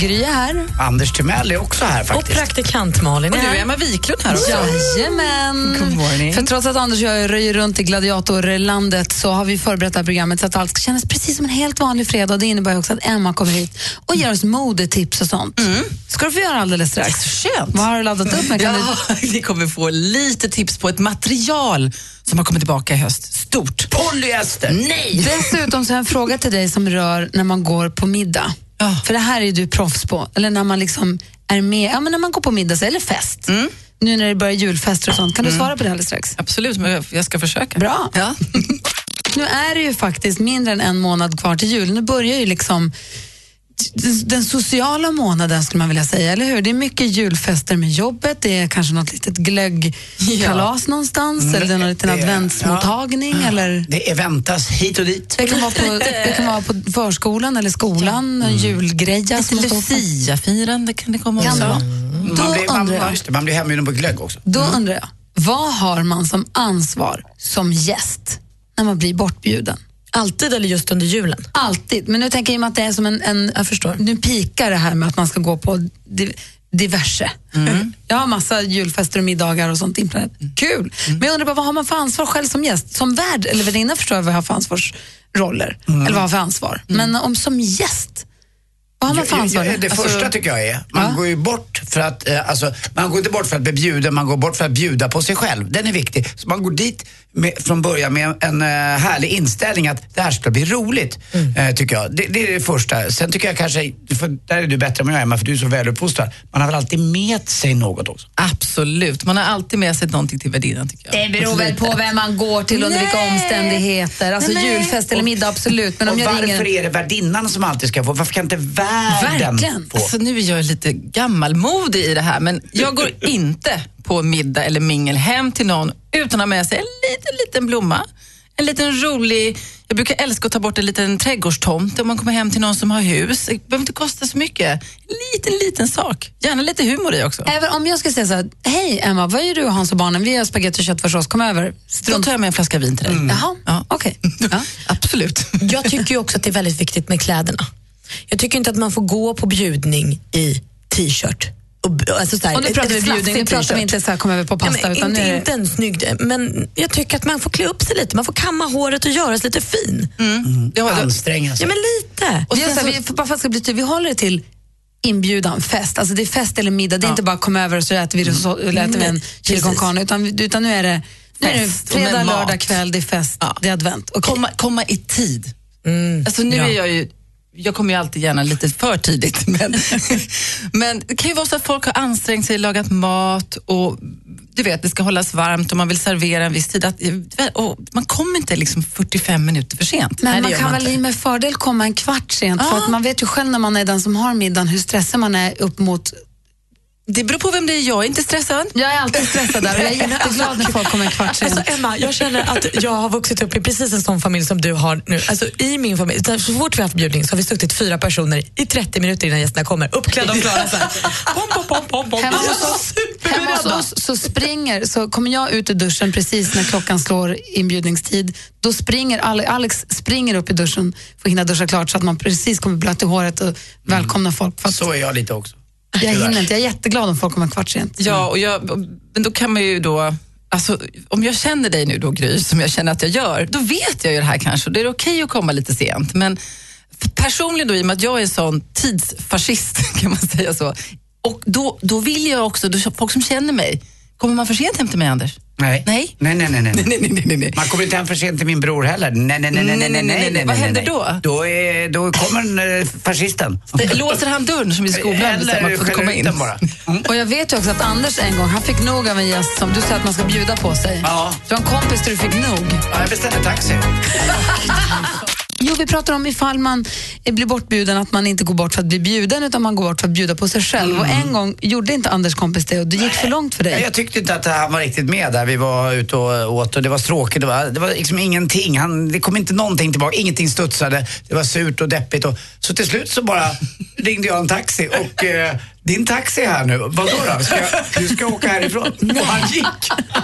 [SPEAKER 5] Gry är här.
[SPEAKER 3] Anders Timell är också här
[SPEAKER 4] Och
[SPEAKER 3] faktiskt.
[SPEAKER 4] praktikant Malin är här.
[SPEAKER 5] Emma Wiklund här också. Jajamän. För trots att Anders och jag röjer runt i gladiatorlandet så har vi förberett det här programmet så att allt ska kännas precis som en helt vanlig fredag. Det innebär ju också att Emma kommer hit och ger oss modetips och sånt. ska du få göra alldeles strax.
[SPEAKER 10] Skönt.
[SPEAKER 5] Vad har du laddat upp med? Kan
[SPEAKER 10] Ja, ni kommer få lite tips på ett material som har kommit tillbaka i höst. Stort.
[SPEAKER 3] Polyester!
[SPEAKER 5] du... Dessutom så har jag en fråga till dig som rör när man går på middag.
[SPEAKER 10] Ja.
[SPEAKER 5] För det här är ju du proffs på. Eller när man liksom är med, ja men när man går på middag så- eller fest. Nu när det börjar julfester och sånt. Kan du svara på det alldeles strax?
[SPEAKER 10] Absolut, men jag- jag ska försöka.
[SPEAKER 5] Bra.
[SPEAKER 10] Ja.
[SPEAKER 5] Nu är det ju faktiskt mindre än en månad kvar till jul. Nu börjar ju liksom den- den sociala månaden skulle man vilja säga, eller hur? Det är mycket julfester med jobbet, det är kanske något litet glöggkalas någonstans eller det är någon liten
[SPEAKER 3] Mm, det-
[SPEAKER 5] adventsmottagning eller
[SPEAKER 3] Det är väntas hit och dit.
[SPEAKER 5] det kan, vara på, det kan vara på förskolan eller skolan,
[SPEAKER 3] Mm.
[SPEAKER 5] en julgreja som man står för.
[SPEAKER 10] Lucia-firande kan det komma
[SPEAKER 5] Kan det vara.
[SPEAKER 10] också.
[SPEAKER 3] Mm. Man
[SPEAKER 5] Då
[SPEAKER 3] blir, man, Mm.
[SPEAKER 5] undrar jag.
[SPEAKER 3] ja, just det, man blir hembjuden på glögg också.
[SPEAKER 5] Då undrar jag, vad har man som ansvar som gäst när man blir bortbjuden?
[SPEAKER 4] Alltid eller just under julen?
[SPEAKER 5] Alltid, men nu tänker jag i och med att det är som en... en jag förstår. Nu pikar det här med att man ska gå på di, diverse.
[SPEAKER 10] Mm.
[SPEAKER 5] Jag har massa julfester och middagar och sånt inplanerat. Kul!
[SPEAKER 10] Mm.
[SPEAKER 5] Men jag undrar bara, vad har man för ansvar själv som gäst? Som värd eller värdinna förstår jag vad jag har för ansvarsroller.
[SPEAKER 10] Mm.
[SPEAKER 5] Eller vad jag har för ansvar. Men eh, om som gäst, vad har man för
[SPEAKER 3] Ja,
[SPEAKER 5] ansvar?
[SPEAKER 3] ja, Det
[SPEAKER 5] Alltså-
[SPEAKER 3] första tycker jag är, man går ju bort för att, eh, alltså, man går inte bort för att bli bjuden, man går bort för att bjuda på sig själv. Den är viktig. Så man går dit med, från början med en eh, härlig inställning att det här ska bli roligt, eh, tycker jag. Det, det är det första. Sen tycker jag kanske, för där är du bättre än jag Emma, för du är så väluppfostrad. Man har väl alltid med sig något också?
[SPEAKER 10] Absolut, man har alltid med sig någonting till värdinnan tycker jag.
[SPEAKER 5] Det beror väl på vem man går till under vilka omständigheter. Alltså
[SPEAKER 10] Nej, nej.
[SPEAKER 5] julfest eller middag, absolut. Men om
[SPEAKER 3] och
[SPEAKER 5] jag
[SPEAKER 3] varför
[SPEAKER 5] ringer...
[SPEAKER 3] är det värdinnan som alltid ska få? Varför kan inte världen
[SPEAKER 10] Verkligen.
[SPEAKER 3] få?
[SPEAKER 10] Alltså, nu är jag lite gammalmodig i det här, men jag går inte på middag eller mingel hem till någon utan att ha med sig en liten, liten blomma. En liten rolig, jag brukar älska att ta bort en liten trädgårdstomt om man kommer hem till någon som har hus. Det behöver inte kosta så mycket. Liten, liten sak. Gärna lite humor i också.
[SPEAKER 5] Även om jag skulle säga så här, hej Emma, vad gör du och Hans och barnen? Vi gör spagetti och köttfärssås, kom över.
[SPEAKER 10] Då tar jag med en flaska vin till dig.
[SPEAKER 5] Jaha,
[SPEAKER 10] Ja.
[SPEAKER 5] okej. Ja.
[SPEAKER 10] Absolut.
[SPEAKER 4] Mm. Jag tycker ju också att det är väldigt viktigt med kläderna. Jag tycker inte att man får gå på bjudning i t-shirt. Och, b- alltså så här,
[SPEAKER 5] Och nu
[SPEAKER 4] ett-
[SPEAKER 5] pratar
[SPEAKER 4] ett
[SPEAKER 5] vi bjudning, nu
[SPEAKER 4] flaffigt
[SPEAKER 5] pratar vi
[SPEAKER 4] t-shirt.
[SPEAKER 5] inte så här, kom över på pasta.
[SPEAKER 4] Nej,
[SPEAKER 5] utan
[SPEAKER 4] men,
[SPEAKER 5] nu är
[SPEAKER 4] inte, inte
[SPEAKER 5] det-
[SPEAKER 4] en snygg, men jag tycker att man får klä upp sig lite. Man får kamma håret och göra sig lite fin.
[SPEAKER 5] Mm.
[SPEAKER 3] Anstränga sig.
[SPEAKER 4] alltså, Ja, men lite.
[SPEAKER 5] Vi gör så här, vi, för, bara för att det ska bli tydligt, vi håller det till inbjudan, fest. Alltså det är fest eller middag, det är inte bara kom över och så äter vi, risotto- eller äter vi en chili con carne, utan, utan nu är det nu är det
[SPEAKER 10] Fest och med
[SPEAKER 5] fredag,
[SPEAKER 10] mat.
[SPEAKER 5] lördag kväll, det är fest, det är advent. Okej. Mm,
[SPEAKER 10] komma, komma i tid. Alltså nu är jag ju, jag kommer ju alltid gärna lite för tidigt, men, men det kan ju vara så att folk har ansträngt sig, lagat mat och du vet, det ska hållas varmt och man vill servera en viss tid. Att, och man kommer inte liksom 45 minuter för sent.
[SPEAKER 5] Men
[SPEAKER 4] det
[SPEAKER 5] man
[SPEAKER 4] gör
[SPEAKER 5] kan
[SPEAKER 4] man
[SPEAKER 5] väl med fördel komma en kvart sent, för att man vet ju själv när man är den som har middagen hur stressad man är upp mot...
[SPEAKER 10] Det beror på vem det är, jag är inte stressad.
[SPEAKER 5] Jag är alltid stressad där och jag är jätteglad när folk kommer en kvart sent.
[SPEAKER 4] Alltså Emma, jag känner att jag har vuxit upp i precis en sån familj som du har nu. Alltså i min familj, så fort vi har haft bjudning så har vi suttit fyra personer i 30 minuter innan gästerna kommer, uppklädda och klara. Så här. Pom, pom, pom, pom, pom.
[SPEAKER 5] Hemma
[SPEAKER 4] Alltså,
[SPEAKER 5] hos, oss, hemma hos oss så springer, så kommer jag ut ur duschen precis när klockan slår inbjudningstid. Då springer Ale- Alex springer upp i duschen för att hinna duscha klart så att man precis kommer blöt i håret och välkomna folk. För att
[SPEAKER 3] Så är jag lite också.
[SPEAKER 5] jag hinner inte. Jag är jätteglad om folk kommer en kvart sent.
[SPEAKER 10] Ja, och jag, men då kan man ju då... Alltså, om jag känner dig nu då, Gry, som jag känner att jag gör, då vet jag ju det här kanske. Och Då är det okej att komma lite sent. Men f- personligen då, i och med att jag är en sån tidsfascist, kan man säga så, och då, då vill jag också, då, folk som känner mig, kommer man för sent hem till mig, Anders?
[SPEAKER 3] Nej.
[SPEAKER 10] Nej.
[SPEAKER 3] Nej, nej, nej, nej. nej.
[SPEAKER 10] Nej, nej, nej, nej, nej.
[SPEAKER 3] Man kommer inte hem för sent till min bror heller. Nej, nej, nej, nej, nej, nej, nej, nej
[SPEAKER 10] Vad händer
[SPEAKER 3] nej.
[SPEAKER 10] då?
[SPEAKER 3] Då, är, då kommer en, eh, fascisten.
[SPEAKER 10] Det- Låser han dörren som i skolan? bestämmer att man får inte komma
[SPEAKER 3] skäller ut
[SPEAKER 10] in.
[SPEAKER 3] den bara. Mm.
[SPEAKER 5] Och jag vet ju också att Anders en gång, han fick nog av en gäst som du säger att man ska bjuda på sig.
[SPEAKER 3] Ja.
[SPEAKER 5] Du har en kompis där du fick nog.
[SPEAKER 3] Ja, jag beställde taxi.
[SPEAKER 5] Jo, vi pratar om ifall man eh, blir bortbjuden, att man inte går bort för att bli bjuden utan man går bort för att bjuda på sig själv.
[SPEAKER 3] Mm.
[SPEAKER 5] Och en gång gjorde inte Anders kompis det och det gick för långt för dig.
[SPEAKER 3] Nej, Jag tyckte inte att han var riktigt med där. Vi var ute och åt och det var stråkigt. Det var, det var liksom ingenting. Han, det kom inte någonting tillbaka. Ingenting studsade. Det var surt och deppigt. Och, så till slut så bara ringde jag en taxi och eh, din taxi är här nu. Vadå då? Ska jag, du ska åka härifrån? Och han gick.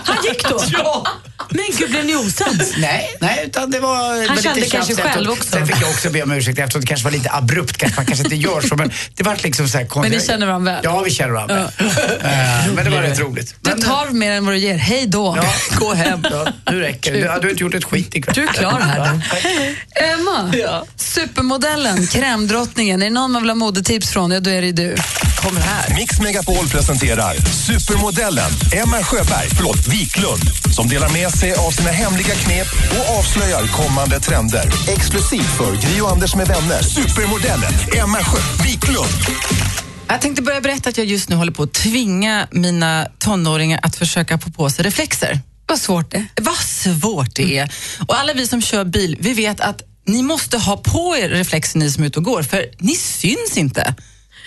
[SPEAKER 4] Han gick då?
[SPEAKER 3] Ja.
[SPEAKER 4] Men gud, blev ni osams?
[SPEAKER 3] Nej, nej, utan det var... det var lite
[SPEAKER 4] kände kanske
[SPEAKER 3] tjafs efteråt.
[SPEAKER 4] själv också.
[SPEAKER 3] Sen fick jag också be om ursäkt eftersom det kanske var lite abrupt, kanske, man kanske inte gör så. Men det var liksom så här konstigt.
[SPEAKER 5] Men ni känner varandra väl?
[SPEAKER 3] Ja, vi känner varandra väl. Eh, Men det var rätt roligt.
[SPEAKER 5] Du
[SPEAKER 3] Men,
[SPEAKER 5] tar mer än vad du ger. Hej då!
[SPEAKER 3] Ja.
[SPEAKER 5] Gå hem.
[SPEAKER 3] Ja, nu räcker det. Du, ja, du har inte gjort ett skit ikväll.
[SPEAKER 5] Du är klar här då.
[SPEAKER 3] Ja, tack.
[SPEAKER 5] Emma, supermodellen, krämdrottningen. Är det någon man vill ha modetips från, ja, då är det ju du.
[SPEAKER 10] Kommer här.
[SPEAKER 7] Mix Megapol presenterar supermodellen Emma Sjöberg, förlåt, Wiklund som delar med sig av sina hemliga knep och avslöjar kommande trender. Exklusivt för Gry och Anders med vänner. Supermodellen Emma Sjö Wiklund.
[SPEAKER 10] Jag tänkte börja berätta att jag just nu håller på att tvinga mina tonåringar att försöka få på sig reflexer.
[SPEAKER 5] Vad svårt det är.
[SPEAKER 10] Vad svårt det är. Och alla vi som kör bil, vi vet att ni måste ha på er reflexer ni som är ute och går, för ni syns inte.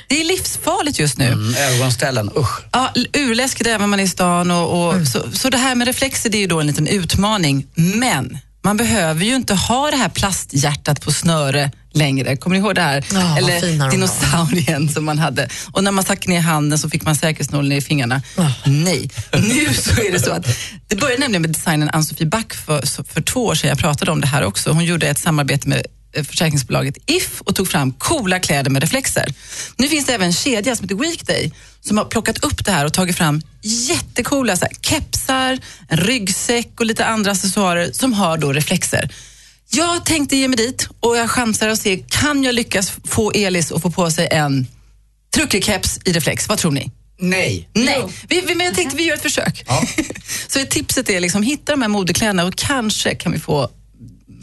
[SPEAKER 10] Det är livsfarligt just nu.
[SPEAKER 3] Mm, Ögonställen, usch.
[SPEAKER 10] Ja, l- urläskigt även när man är i stan. Och, och, så, så det här med reflexer det är ju då en liten utmaning. Men man behöver ju inte ha det här plasthjärtat på snöre längre. Kommer ni ihåg det här?
[SPEAKER 4] Ja, vad fina de var.
[SPEAKER 10] Eller dinosaurien som man hade. Och när man stack ner handen så fick man säkerhetsnålen i fingrarna. Nej, nu så är det så att det började nämligen med designen Ann-Sofie Back för, så- för två år sedan. Jag pratade om det här också. Hon gjorde ett samarbete med eh, försäkringsbolaget If och tog fram coola kläder med reflexer. Nu finns det även en kedja som heter Weekday som har plockat upp det här och tagit fram jättecoola så här, kepsar, en ryggsäck och lite andra accessoarer som har då reflexer. Jag tänkte ge mig dit och jag chansar och se, kan jag lyckas få Elis att få på sig en truckerkeps i reflex? Vad tror ni?
[SPEAKER 3] Nej.
[SPEAKER 10] Nej, vi, vi, men jag tänkte vi gör ett försök. Så tipset är liksom hitta de här modekläderna och kanske kan vi få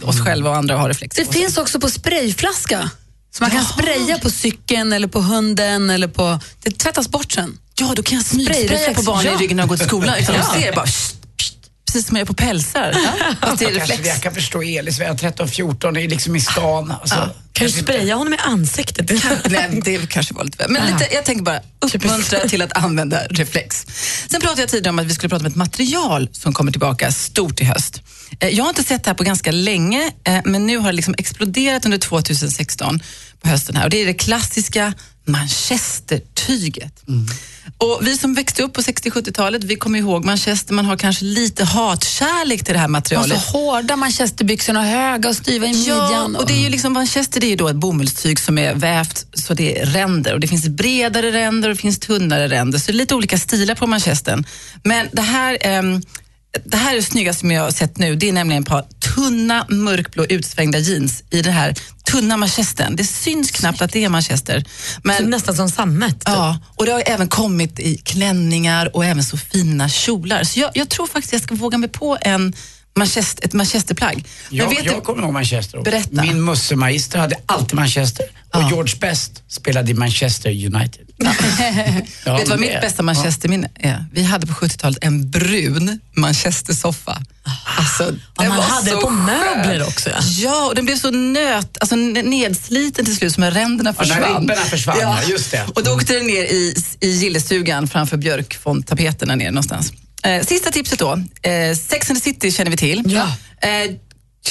[SPEAKER 10] oss själva och andra att ha reflex.
[SPEAKER 5] Det finns också på sprayflaska. Så man kan spraya på cykeln eller på hunden eller på... Det tvättas bort sen.
[SPEAKER 10] Ja, då kan jag smygspraya
[SPEAKER 5] Sprayrex,
[SPEAKER 10] på barnen
[SPEAKER 5] ja.
[SPEAKER 10] i ryggen när de går till skolan utan de ser. Bara, pst, pst, precis som jag gör på pälsar. Fast det är
[SPEAKER 3] Kanske,
[SPEAKER 10] reflex.
[SPEAKER 3] jag kan förstå Elis, vi är 13-14, är liksom i stan. Alltså.
[SPEAKER 4] Kan du spraya honom i ansiktet? Det kan-
[SPEAKER 10] Nej, det kanske var lite väl. Men lite, jag tänker bara uppmuntra till att använda reflex. Sen pratade jag tidigare om att vi skulle prata om ett material som kommer tillbaka stort i höst. Eh, Jag har inte sett det här på ganska länge, eh, men nu har det liksom exploderat under 2016 på hösten här. Och det är det klassiska manchestertyget. Och vi som växte upp på 60-70-talet, vi kommer ihåg manchester, man har kanske lite hatkärlek till det här materialet.
[SPEAKER 5] Alltså hårda manchesterbyxorna, höga och styva i midjan.
[SPEAKER 10] Ja, och det är ju liksom manchester det är ju då ett bomullstyg som är vävt så det är ränder och det finns bredare ränder och det finns tunnare ränder så det är lite olika stilar på manchesten. Men det här, ehm, det här är det snyggaste som jag har sett nu. Det är nämligen ett par tunna mörkblå utsvängda jeans i den här tunna manchesten. Det syns knappt att det är manchester. Men
[SPEAKER 4] Nästan som sammet.
[SPEAKER 10] Ja, och det har ju även kommit i klänningar och även så fina kjolar. Så jag, jag tror faktiskt jag ska våga mig på en manchester, ett manchesterplagg. Men
[SPEAKER 3] Jag,
[SPEAKER 10] vet
[SPEAKER 3] jag
[SPEAKER 10] du-
[SPEAKER 3] kommer ihåg Manchester. också.
[SPEAKER 10] Berätta.
[SPEAKER 3] Min mussemagister hade alltid Manchester. Och George Best spelade i Manchester United. Ja,
[SPEAKER 10] Vet du vad
[SPEAKER 3] men
[SPEAKER 10] mitt
[SPEAKER 3] det-
[SPEAKER 10] bästa manchesterminne är? Vi hade på 70-talet en brun manchestersoffa. Alltså, den
[SPEAKER 4] Ja, man
[SPEAKER 10] var
[SPEAKER 4] hade
[SPEAKER 10] så
[SPEAKER 4] det på
[SPEAKER 10] skön.
[SPEAKER 4] möbler också. Ja.
[SPEAKER 10] Ja, och den blev så nöt, alltså n- nedsliten till slut som när ränderna
[SPEAKER 3] Ja, när
[SPEAKER 10] försvann.
[SPEAKER 3] ribborna försvann, ja, just det.
[SPEAKER 10] Och då åkte den ner i, i gillestugan framför björkfondtapeten där nere någonstans. Eh, sista tipset då. Eh, Sex and the City känner vi till.
[SPEAKER 4] Ja.
[SPEAKER 10] Eh,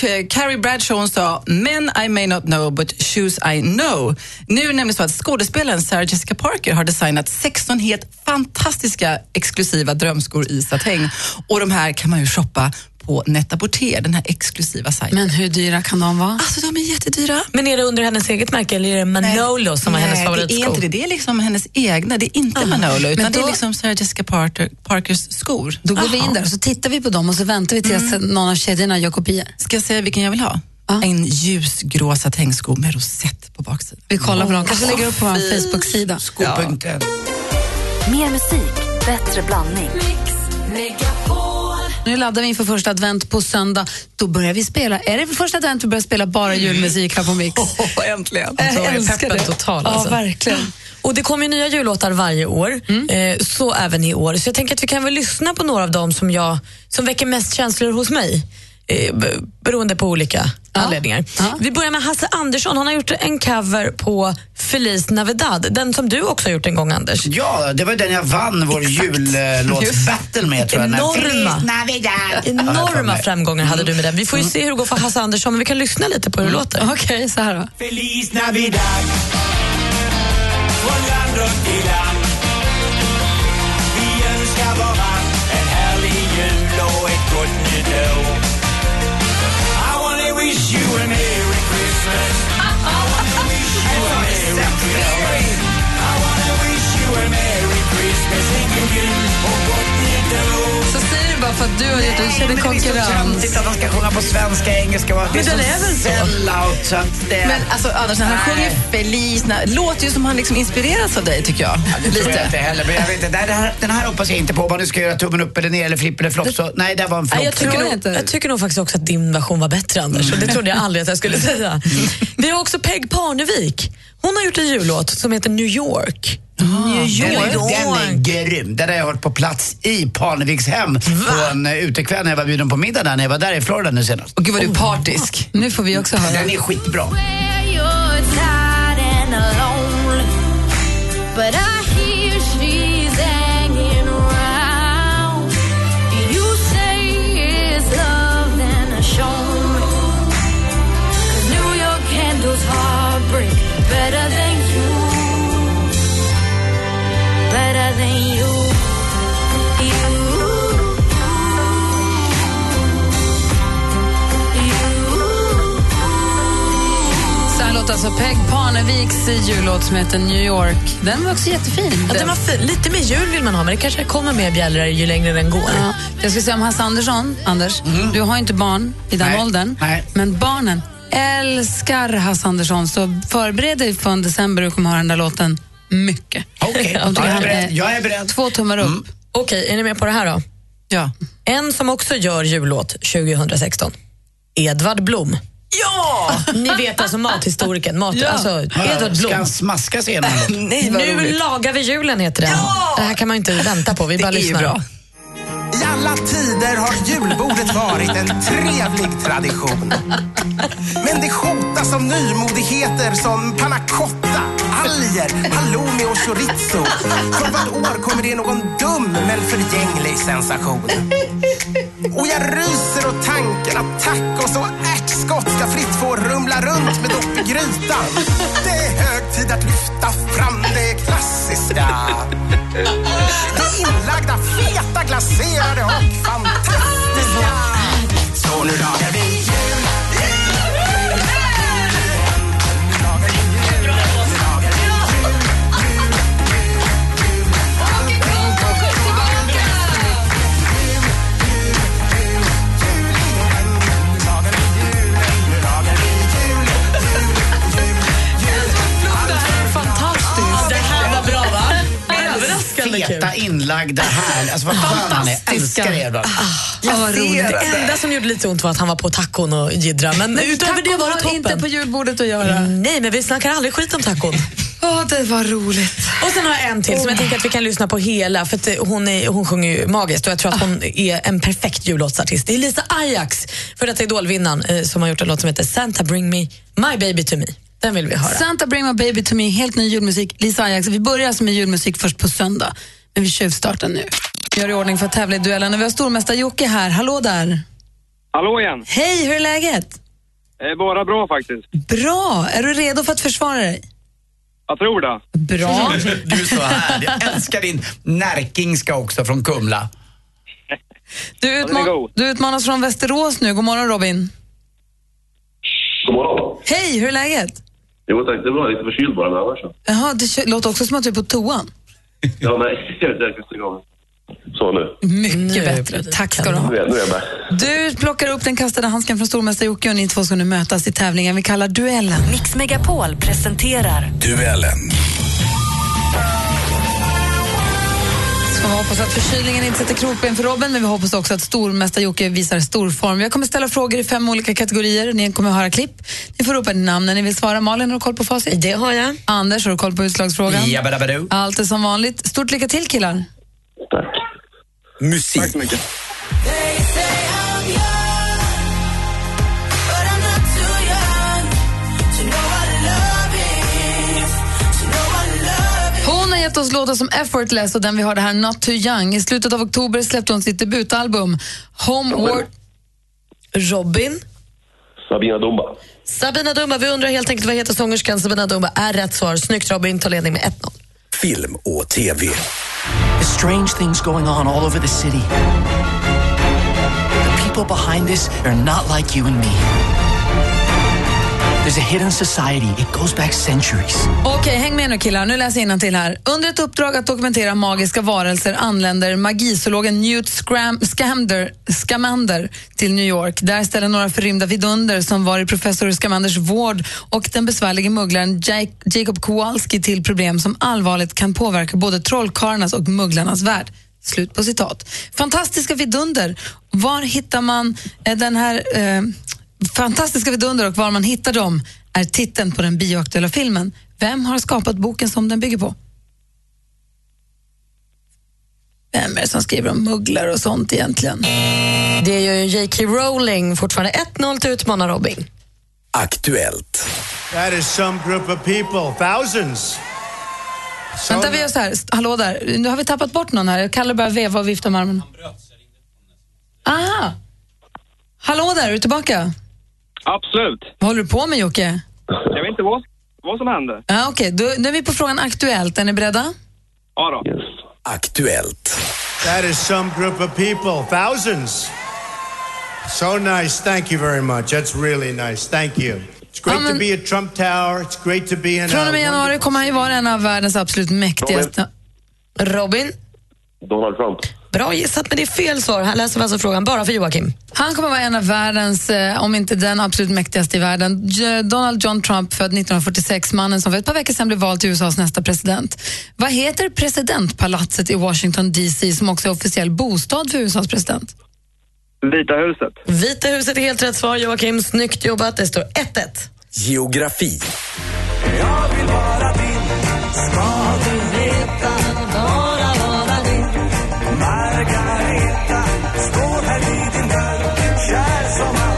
[SPEAKER 10] K- Carrie Bradshaw hon sa “Men I may not know, but shoes I know”. Nu är det nämligen så att skådespelaren Sarah Jessica Parker har designat 16 helt fantastiska exklusiva drömskor i satäng. Och de här kan man ju shoppa på Net-a-Porter, den här exklusiva sajten.
[SPEAKER 5] Men hur dyra kan de vara?
[SPEAKER 10] Alltså de är jättedyra.
[SPEAKER 4] Men är det under hennes eget märke eller är det Manolo som var hennes
[SPEAKER 10] det är
[SPEAKER 4] favoritsko?
[SPEAKER 10] inte det. Det är liksom hennes egna. Det är inte Manolo, utan
[SPEAKER 5] då-
[SPEAKER 10] det är liksom Sarah Jessica Parker, Parkers skor.
[SPEAKER 5] Då går vi in där och så tittar vi på dem och så väntar vi tills
[SPEAKER 4] Mm.
[SPEAKER 5] någon av kedjorna gör kopior.
[SPEAKER 10] Ska jag säga vilken jag vill ha? En ljusgrå satängsko med rosett på baksidan.
[SPEAKER 5] Vi kollar på dem, kanske lägger upp på vår Facebook-sida.
[SPEAKER 3] Skopunkten.
[SPEAKER 1] Mer musik, bättre blandning.
[SPEAKER 5] Nu laddar vi inför första advent på söndag. Då börjar vi spela. Är det första advent vi börjar spela bara
[SPEAKER 4] Mm.
[SPEAKER 5] julmusik här på Mix?
[SPEAKER 10] äntligen.
[SPEAKER 5] Jag älskar
[SPEAKER 4] peppen
[SPEAKER 5] det.
[SPEAKER 4] total, alltså.
[SPEAKER 5] Ja, verkligen.
[SPEAKER 4] Och det kommer ju nya jullåtar varje år,
[SPEAKER 5] Mm.
[SPEAKER 4] eh, så även i år. Så jag tänker att vi kan väl lyssna på några av dem som, jag, som väcker mest känslor hos mig. eh, b- Beroende på olika anledningar.
[SPEAKER 5] Ja.
[SPEAKER 4] Vi börjar med Hasse Andersson. Han har gjort en cover på Feliz Navidad. Den som du också har gjort en gång, Anders.
[SPEAKER 3] Ja, det var den jag vann vår jullåtsbattle med tror jag. när-
[SPEAKER 4] Enorma.
[SPEAKER 3] Feliz Navidad. Ja, jag tror
[SPEAKER 4] Enorma
[SPEAKER 3] mig.
[SPEAKER 4] framgångar hade du med den. Vi får ju se hur det går för Hasse Andersson, men vi kan lyssna lite på hur det låter.
[SPEAKER 5] Mm. Okej, så här då.
[SPEAKER 11] Feliz Navidad Från land och till land Vi önskar varann en härlig jul och ett gott nytt år I wanna wish you a merry Christmas I wanna wish you a merry Christmas I wanna wish you a merry Christmas En god jul och gott nytt år
[SPEAKER 5] Så säger du bara för att du har gjort en
[SPEAKER 3] Nej, men Det är så töntigt att de ska sjunga på svenska, engelska. Men det är,
[SPEAKER 5] den
[SPEAKER 3] så
[SPEAKER 5] är väl så?
[SPEAKER 3] sellout så att det...
[SPEAKER 10] Men alltså Anders, när han
[SPEAKER 3] Nej.
[SPEAKER 10] sjunger Feliz, na- låter ju som han liksom inspireras av dig tycker jag.
[SPEAKER 3] Tror jag inte
[SPEAKER 10] Lite.
[SPEAKER 3] heller, men jag vet inte. Nej, det här, den här hoppas jag inte på. Om man nu ska göra tummen upp eller ner eller flipp eller flopp. Så, nej, det var en
[SPEAKER 4] Nej,
[SPEAKER 3] flopp.
[SPEAKER 4] jag, tycker
[SPEAKER 5] Förlåt.
[SPEAKER 4] nog,
[SPEAKER 5] inte.
[SPEAKER 4] jag tycker nog faktiskt också att din version var bättre Anders och det trodde jag aldrig att jag skulle säga. Vi har också Peg Parnevik. Hon har gjort en jullåt som heter New York. New
[SPEAKER 3] Den är, den är grym. Den har jag hört på plats i Parneviks hem på en eh, utekväll när jag var bjuden på middag där när jag var där i Florida nu senast.
[SPEAKER 10] Och gud vad du är partisk.
[SPEAKER 5] Nu får vi också höra.
[SPEAKER 3] Den är skitbra.
[SPEAKER 1] New York handles hard
[SPEAKER 5] alltså Peg Parneviks jullåt som heter New York. Den var också jättefin.
[SPEAKER 4] Ja, den var fin. Lite mer jul vill man ha, men det kanske kommer mer bjällror ju längre den går.
[SPEAKER 5] Ja. Jag ska säga om Hasse Andersson, Anders, du har ju inte barn i den
[SPEAKER 4] Mhm. Nej.
[SPEAKER 5] åldern,
[SPEAKER 4] Nej.
[SPEAKER 5] men barnen älskar Hasse Andersson, så förbered dig från december och kommer ha den där låten mycket.
[SPEAKER 3] Okej,
[SPEAKER 5] De
[SPEAKER 4] jag
[SPEAKER 5] tycker
[SPEAKER 4] är
[SPEAKER 5] han
[SPEAKER 4] beredd. Jag är beredd.
[SPEAKER 5] eh,
[SPEAKER 4] Mm.
[SPEAKER 5] Två tummar upp.
[SPEAKER 4] Okej, är ni med på det här då?
[SPEAKER 5] Ja.
[SPEAKER 4] En som också gör jullåt 2016. Edvard Blom. Ja! Ni vet alltså mathistorikern. Mat,
[SPEAKER 3] Ja.
[SPEAKER 4] alltså,
[SPEAKER 3] Ja,
[SPEAKER 4] Edvard Blom.
[SPEAKER 3] ska han smaska sig igenom då? Nej, vad
[SPEAKER 4] Nu
[SPEAKER 3] roligt.
[SPEAKER 4] lagar vi julen heter den. Det här kan man ju inte vänta på. Vi bara
[SPEAKER 12] är ju
[SPEAKER 4] lyssnar.
[SPEAKER 12] bra. I alla tider har julbordet varit en trevlig tradition. Men det hotas av nymodigheter som panna cotta, alger, halloumi och chorizo. För vart år kommer det någon dum men förgänglig sensation. Och jag ryser åt tanken att tacos och ärtskott ska fritt få rumla runt med dopp i grytan. Det är hög tid att lyfta fram det klassiska. Det inlagda, feta, glaserade och fantastiska. Så nu lagar vi jul.
[SPEAKER 4] Fantastiskt! Det här var bra, va? Överraskande kul.
[SPEAKER 3] Feta, inlagda, här. Alltså vad skön han är. Älskar Edvard.
[SPEAKER 4] Ja, vad roligt.
[SPEAKER 3] ser
[SPEAKER 4] Det
[SPEAKER 3] det.
[SPEAKER 4] enda som gjorde lite ont var att han var på tacon och jiddra. Men
[SPEAKER 5] Nej,
[SPEAKER 4] utöver
[SPEAKER 5] tacon
[SPEAKER 4] det var
[SPEAKER 5] har
[SPEAKER 4] det toppen.
[SPEAKER 5] inte på julbordet att göra.
[SPEAKER 4] Nej, men vi snackar aldrig skit om tacon.
[SPEAKER 5] Åh, Mm. det var roligt.
[SPEAKER 4] Och sen har jag en till som jag tänker att vi kan lyssna på hela för att eh, hon, är, hon sjunger ju magiskt och jag tror att hon är en perfekt jullåtsartist. Det är Lisa Ajax, för detta idolvinnaren, eh, som har gjort en låt som heter Santa bring me my baby to me. Den vill vi höra.
[SPEAKER 5] Santa Bring My Baby To Me, helt ny julmusik. Lisa Ajax, vi börjar alltså med julmusik först på söndag, men vi tjuvstartar nu. Vi gör i ordning för att tävla i duellen och vi har stormästare Jocke här. Hallå där!
[SPEAKER 13] Hallå igen.
[SPEAKER 5] Hej, hur är läget?
[SPEAKER 13] Det är bara bra faktiskt.
[SPEAKER 5] Bra! Är du redo för att försvara dig?
[SPEAKER 13] Jag tror det.
[SPEAKER 5] Bra.
[SPEAKER 3] Du är så härlig. Jag älskar din närkingska också från Kumla.
[SPEAKER 5] Du, utman- du utmanas från Västerås nu. God morgon Robin.
[SPEAKER 14] God morgon.
[SPEAKER 5] Hej, hur är läget?
[SPEAKER 14] Jo tack, det var lite förkyld bara, men annars så.
[SPEAKER 5] Jaha, det kö- låter också som att du är på toan.
[SPEAKER 14] Ja, nej, det är första gången. Så nu.
[SPEAKER 4] Mm.
[SPEAKER 5] Mycket bättre. Tack ska du ha.
[SPEAKER 14] Nu är, nu är jag med.
[SPEAKER 5] Du plockar upp den kastade handsken från stormästare Jocke och ni två ska nu mötas i tävlingen vi kallar Duellen.
[SPEAKER 1] Mix Megapol presenterar
[SPEAKER 7] Duellen.
[SPEAKER 5] Ska man hoppas att förkylningen inte sätter krokben för Robin, men vi hoppas också att stormästare Jocke visar stor form. Jag kommer ställa frågor i fem olika kategorier. Ni kommer höra klipp. Ni får ropa namn när ni vill svara. Malin, har du koll på facit?
[SPEAKER 4] Det har jag.
[SPEAKER 5] Anders, har du koll på utslagsfrågan?
[SPEAKER 3] Jabbadabadoo.
[SPEAKER 5] Allt är som vanligt. Stort lycka till killar.
[SPEAKER 3] Musik. Tack så
[SPEAKER 14] mycket.
[SPEAKER 5] Hon har gett oss låtar som Effortless och den vi har det här Not Too Young. I slutet av oktober släppte hon sitt debutalbum Homeward...
[SPEAKER 4] Robin?
[SPEAKER 14] Sabina Dumba.
[SPEAKER 4] Sabina Dumba, vi undrar helt enkelt vad heter sångerskan Sabina Dumba är rätt svar. Snyggt Robin, ta ledning med 1-0.
[SPEAKER 11] Film och TV.
[SPEAKER 12] There's strange things going on all over the city. The people behind this are not like you and me. There's a hidden society. It goes back centuries.
[SPEAKER 5] Okej, häng med nu killar. Nu läser jag till här. Under ett uppdrag att dokumentera magiska varelser anländer magisologen Newt Scram- Scamander, Scamander till New York. Där ställer några förrymda vidunder som var i professor Scamanders vård och den besvärlige mugglaren Jack- Jacob Kowalski till problem som allvarligt kan påverka både trollkarlarnas och mugglarnas värld. Slut på citat. Fantastiska vidunder. Var hittar man eh, den här... Eh, Fantastiska vidunder och var man hittar dem är titeln på den bioaktuella filmen. Vem har skapat boken som den bygger på? Vem är det som skriver om mugglar och sånt egentligen?
[SPEAKER 4] Det gör ju J.K. Rowling. Fortfarande 1-0 till utmanar Robin.
[SPEAKER 11] Aktuellt. That is some group of people, thousands.
[SPEAKER 5] Vänta, vi gör så här. St- Hallå där. Nu har vi tappat bort någon här. Kalle börjar veva och vifta med armen. Aha! Hallå där, är du tillbaka?
[SPEAKER 13] Absolut.
[SPEAKER 5] Vad håller du på med Jocke?
[SPEAKER 13] Jag vet inte vad, vad som hände.
[SPEAKER 5] Ja, Okej, då, nu är vi på frågan Aktuellt. Är ni beredda?
[SPEAKER 13] Ja då.
[SPEAKER 11] Aktuellt. That is some group of people, thousands. So nice, thank you very much. That's really nice, thank you.
[SPEAKER 15] It's great to be at Trump Tower. It's great to be in
[SPEAKER 5] Från och med
[SPEAKER 15] uh,
[SPEAKER 5] januari kommer han ju vara en av världens absolut mäktigaste... Robin?
[SPEAKER 14] Donald Trump.
[SPEAKER 4] Bra gissat, men det är fel svar. Här läser vi alltså frågan bara för Joakim.
[SPEAKER 5] Han kommer vara en av världens, eh, om inte den absolut mäktigaste i världen. J- Donald John Trump, född 1946, mannen som för ett par veckor sedan blev vald till USAs nästa president. Vad heter presidentpalatset i Washington DC som också är officiell bostad för USAs president?
[SPEAKER 13] Vita huset.
[SPEAKER 4] Vita huset är helt rätt svar, Joakim. Snyggt jobbat. Det står 1-1.
[SPEAKER 11] Geografi.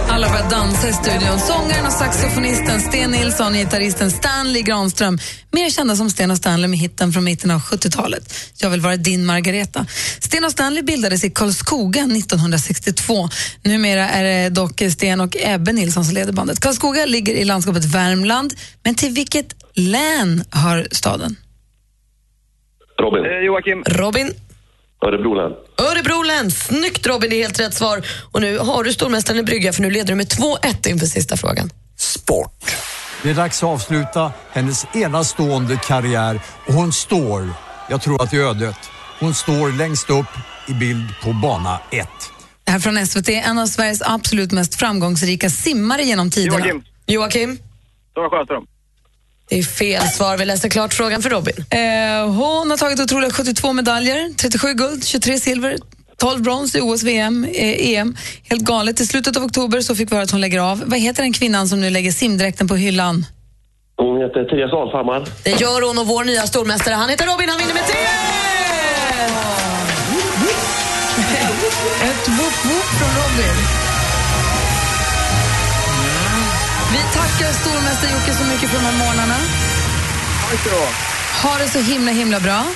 [SPEAKER 5] Alla börjar dansa i studion. Sångaren och saxofonisten Sten Nilsson och gitarristen Stanley Granström, mer kända som Sten och Stanley med hitten från mitten av 70-talet, Jag vill vara din Margareta. Sten och Stanley bildades i Karlskoga 1962. Numera är det dock Sten och Ebbe Nilsson som leder bandet. Karlskoga ligger i landskapet Värmland, men till vilket län hör staden?
[SPEAKER 14] Robin.
[SPEAKER 13] Joakim.
[SPEAKER 4] Robin.
[SPEAKER 14] Örebro län.
[SPEAKER 4] Örebro län. Snyggt Robin, det är helt rätt svar. Och nu har du stormästaren i brygga för nu leder du med 2-1 inför sista frågan.
[SPEAKER 16] Sport. Det är dags att avsluta hennes enastående karriär och hon står, jag tror att det är ödet, hon står längst upp i bild på bana 1.
[SPEAKER 5] Det här är från SVT, en av Sveriges absolut mest framgångsrika simmare genom tiderna.
[SPEAKER 13] Joakim.
[SPEAKER 4] Joakim.
[SPEAKER 13] Sara Sjöström.
[SPEAKER 4] Det är fel svar. Vi läser klart frågan för Robin.
[SPEAKER 5] Eh, hon har tagit otroliga 72 medaljer, 37 guld, 23 silver, 12 brons i OS, VM, eh, EM. Helt galet. I slutet av oktober så fick vi höra att hon lägger av. Vad heter den kvinnan som nu lägger simdräkten på hyllan?
[SPEAKER 14] Hon heter Therese Alshammar.
[SPEAKER 4] Det gör hon och vår nya stormästare. Han heter Robin, han vinner med 3
[SPEAKER 5] Ett woop woop från Robin. Vi tackar stormästare Jocke så mycket för de här morgnarna.
[SPEAKER 13] Tack ska du ha.
[SPEAKER 5] Ha det så himla, himla bra. Mm.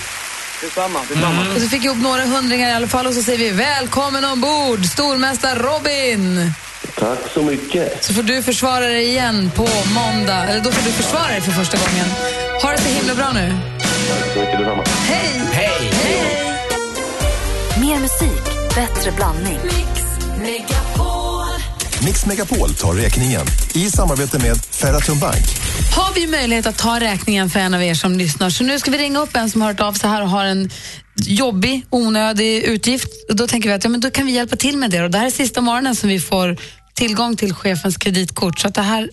[SPEAKER 13] Detsamma, detsamma.
[SPEAKER 5] Och så fick jag ihop några hundringar i alla fall och så säger vi välkommen ombord, stormästare Robin!
[SPEAKER 14] Tack så mycket.
[SPEAKER 5] Så får du försvara dig igen på måndag. Eller då får du försvara dig för första gången. Ha det så himla bra nu.
[SPEAKER 14] Tack så mycket detsamma.
[SPEAKER 5] Hej! Hej!
[SPEAKER 1] Mer musik, bättre blandning.
[SPEAKER 7] Mix Megapol tar räkningen i samarbete med Ferratum Bank.
[SPEAKER 5] Har vi möjlighet att ta räkningen för en av er som lyssnar? Så nu ska vi ringa upp en som har hört av sig här och har en jobbig, onödig utgift. Och då tänker vi att ja, men då kan vi hjälpa till med det. Och det här är sista morgonen som vi får tillgång till chefens kreditkort. Så att det här
[SPEAKER 3] Känns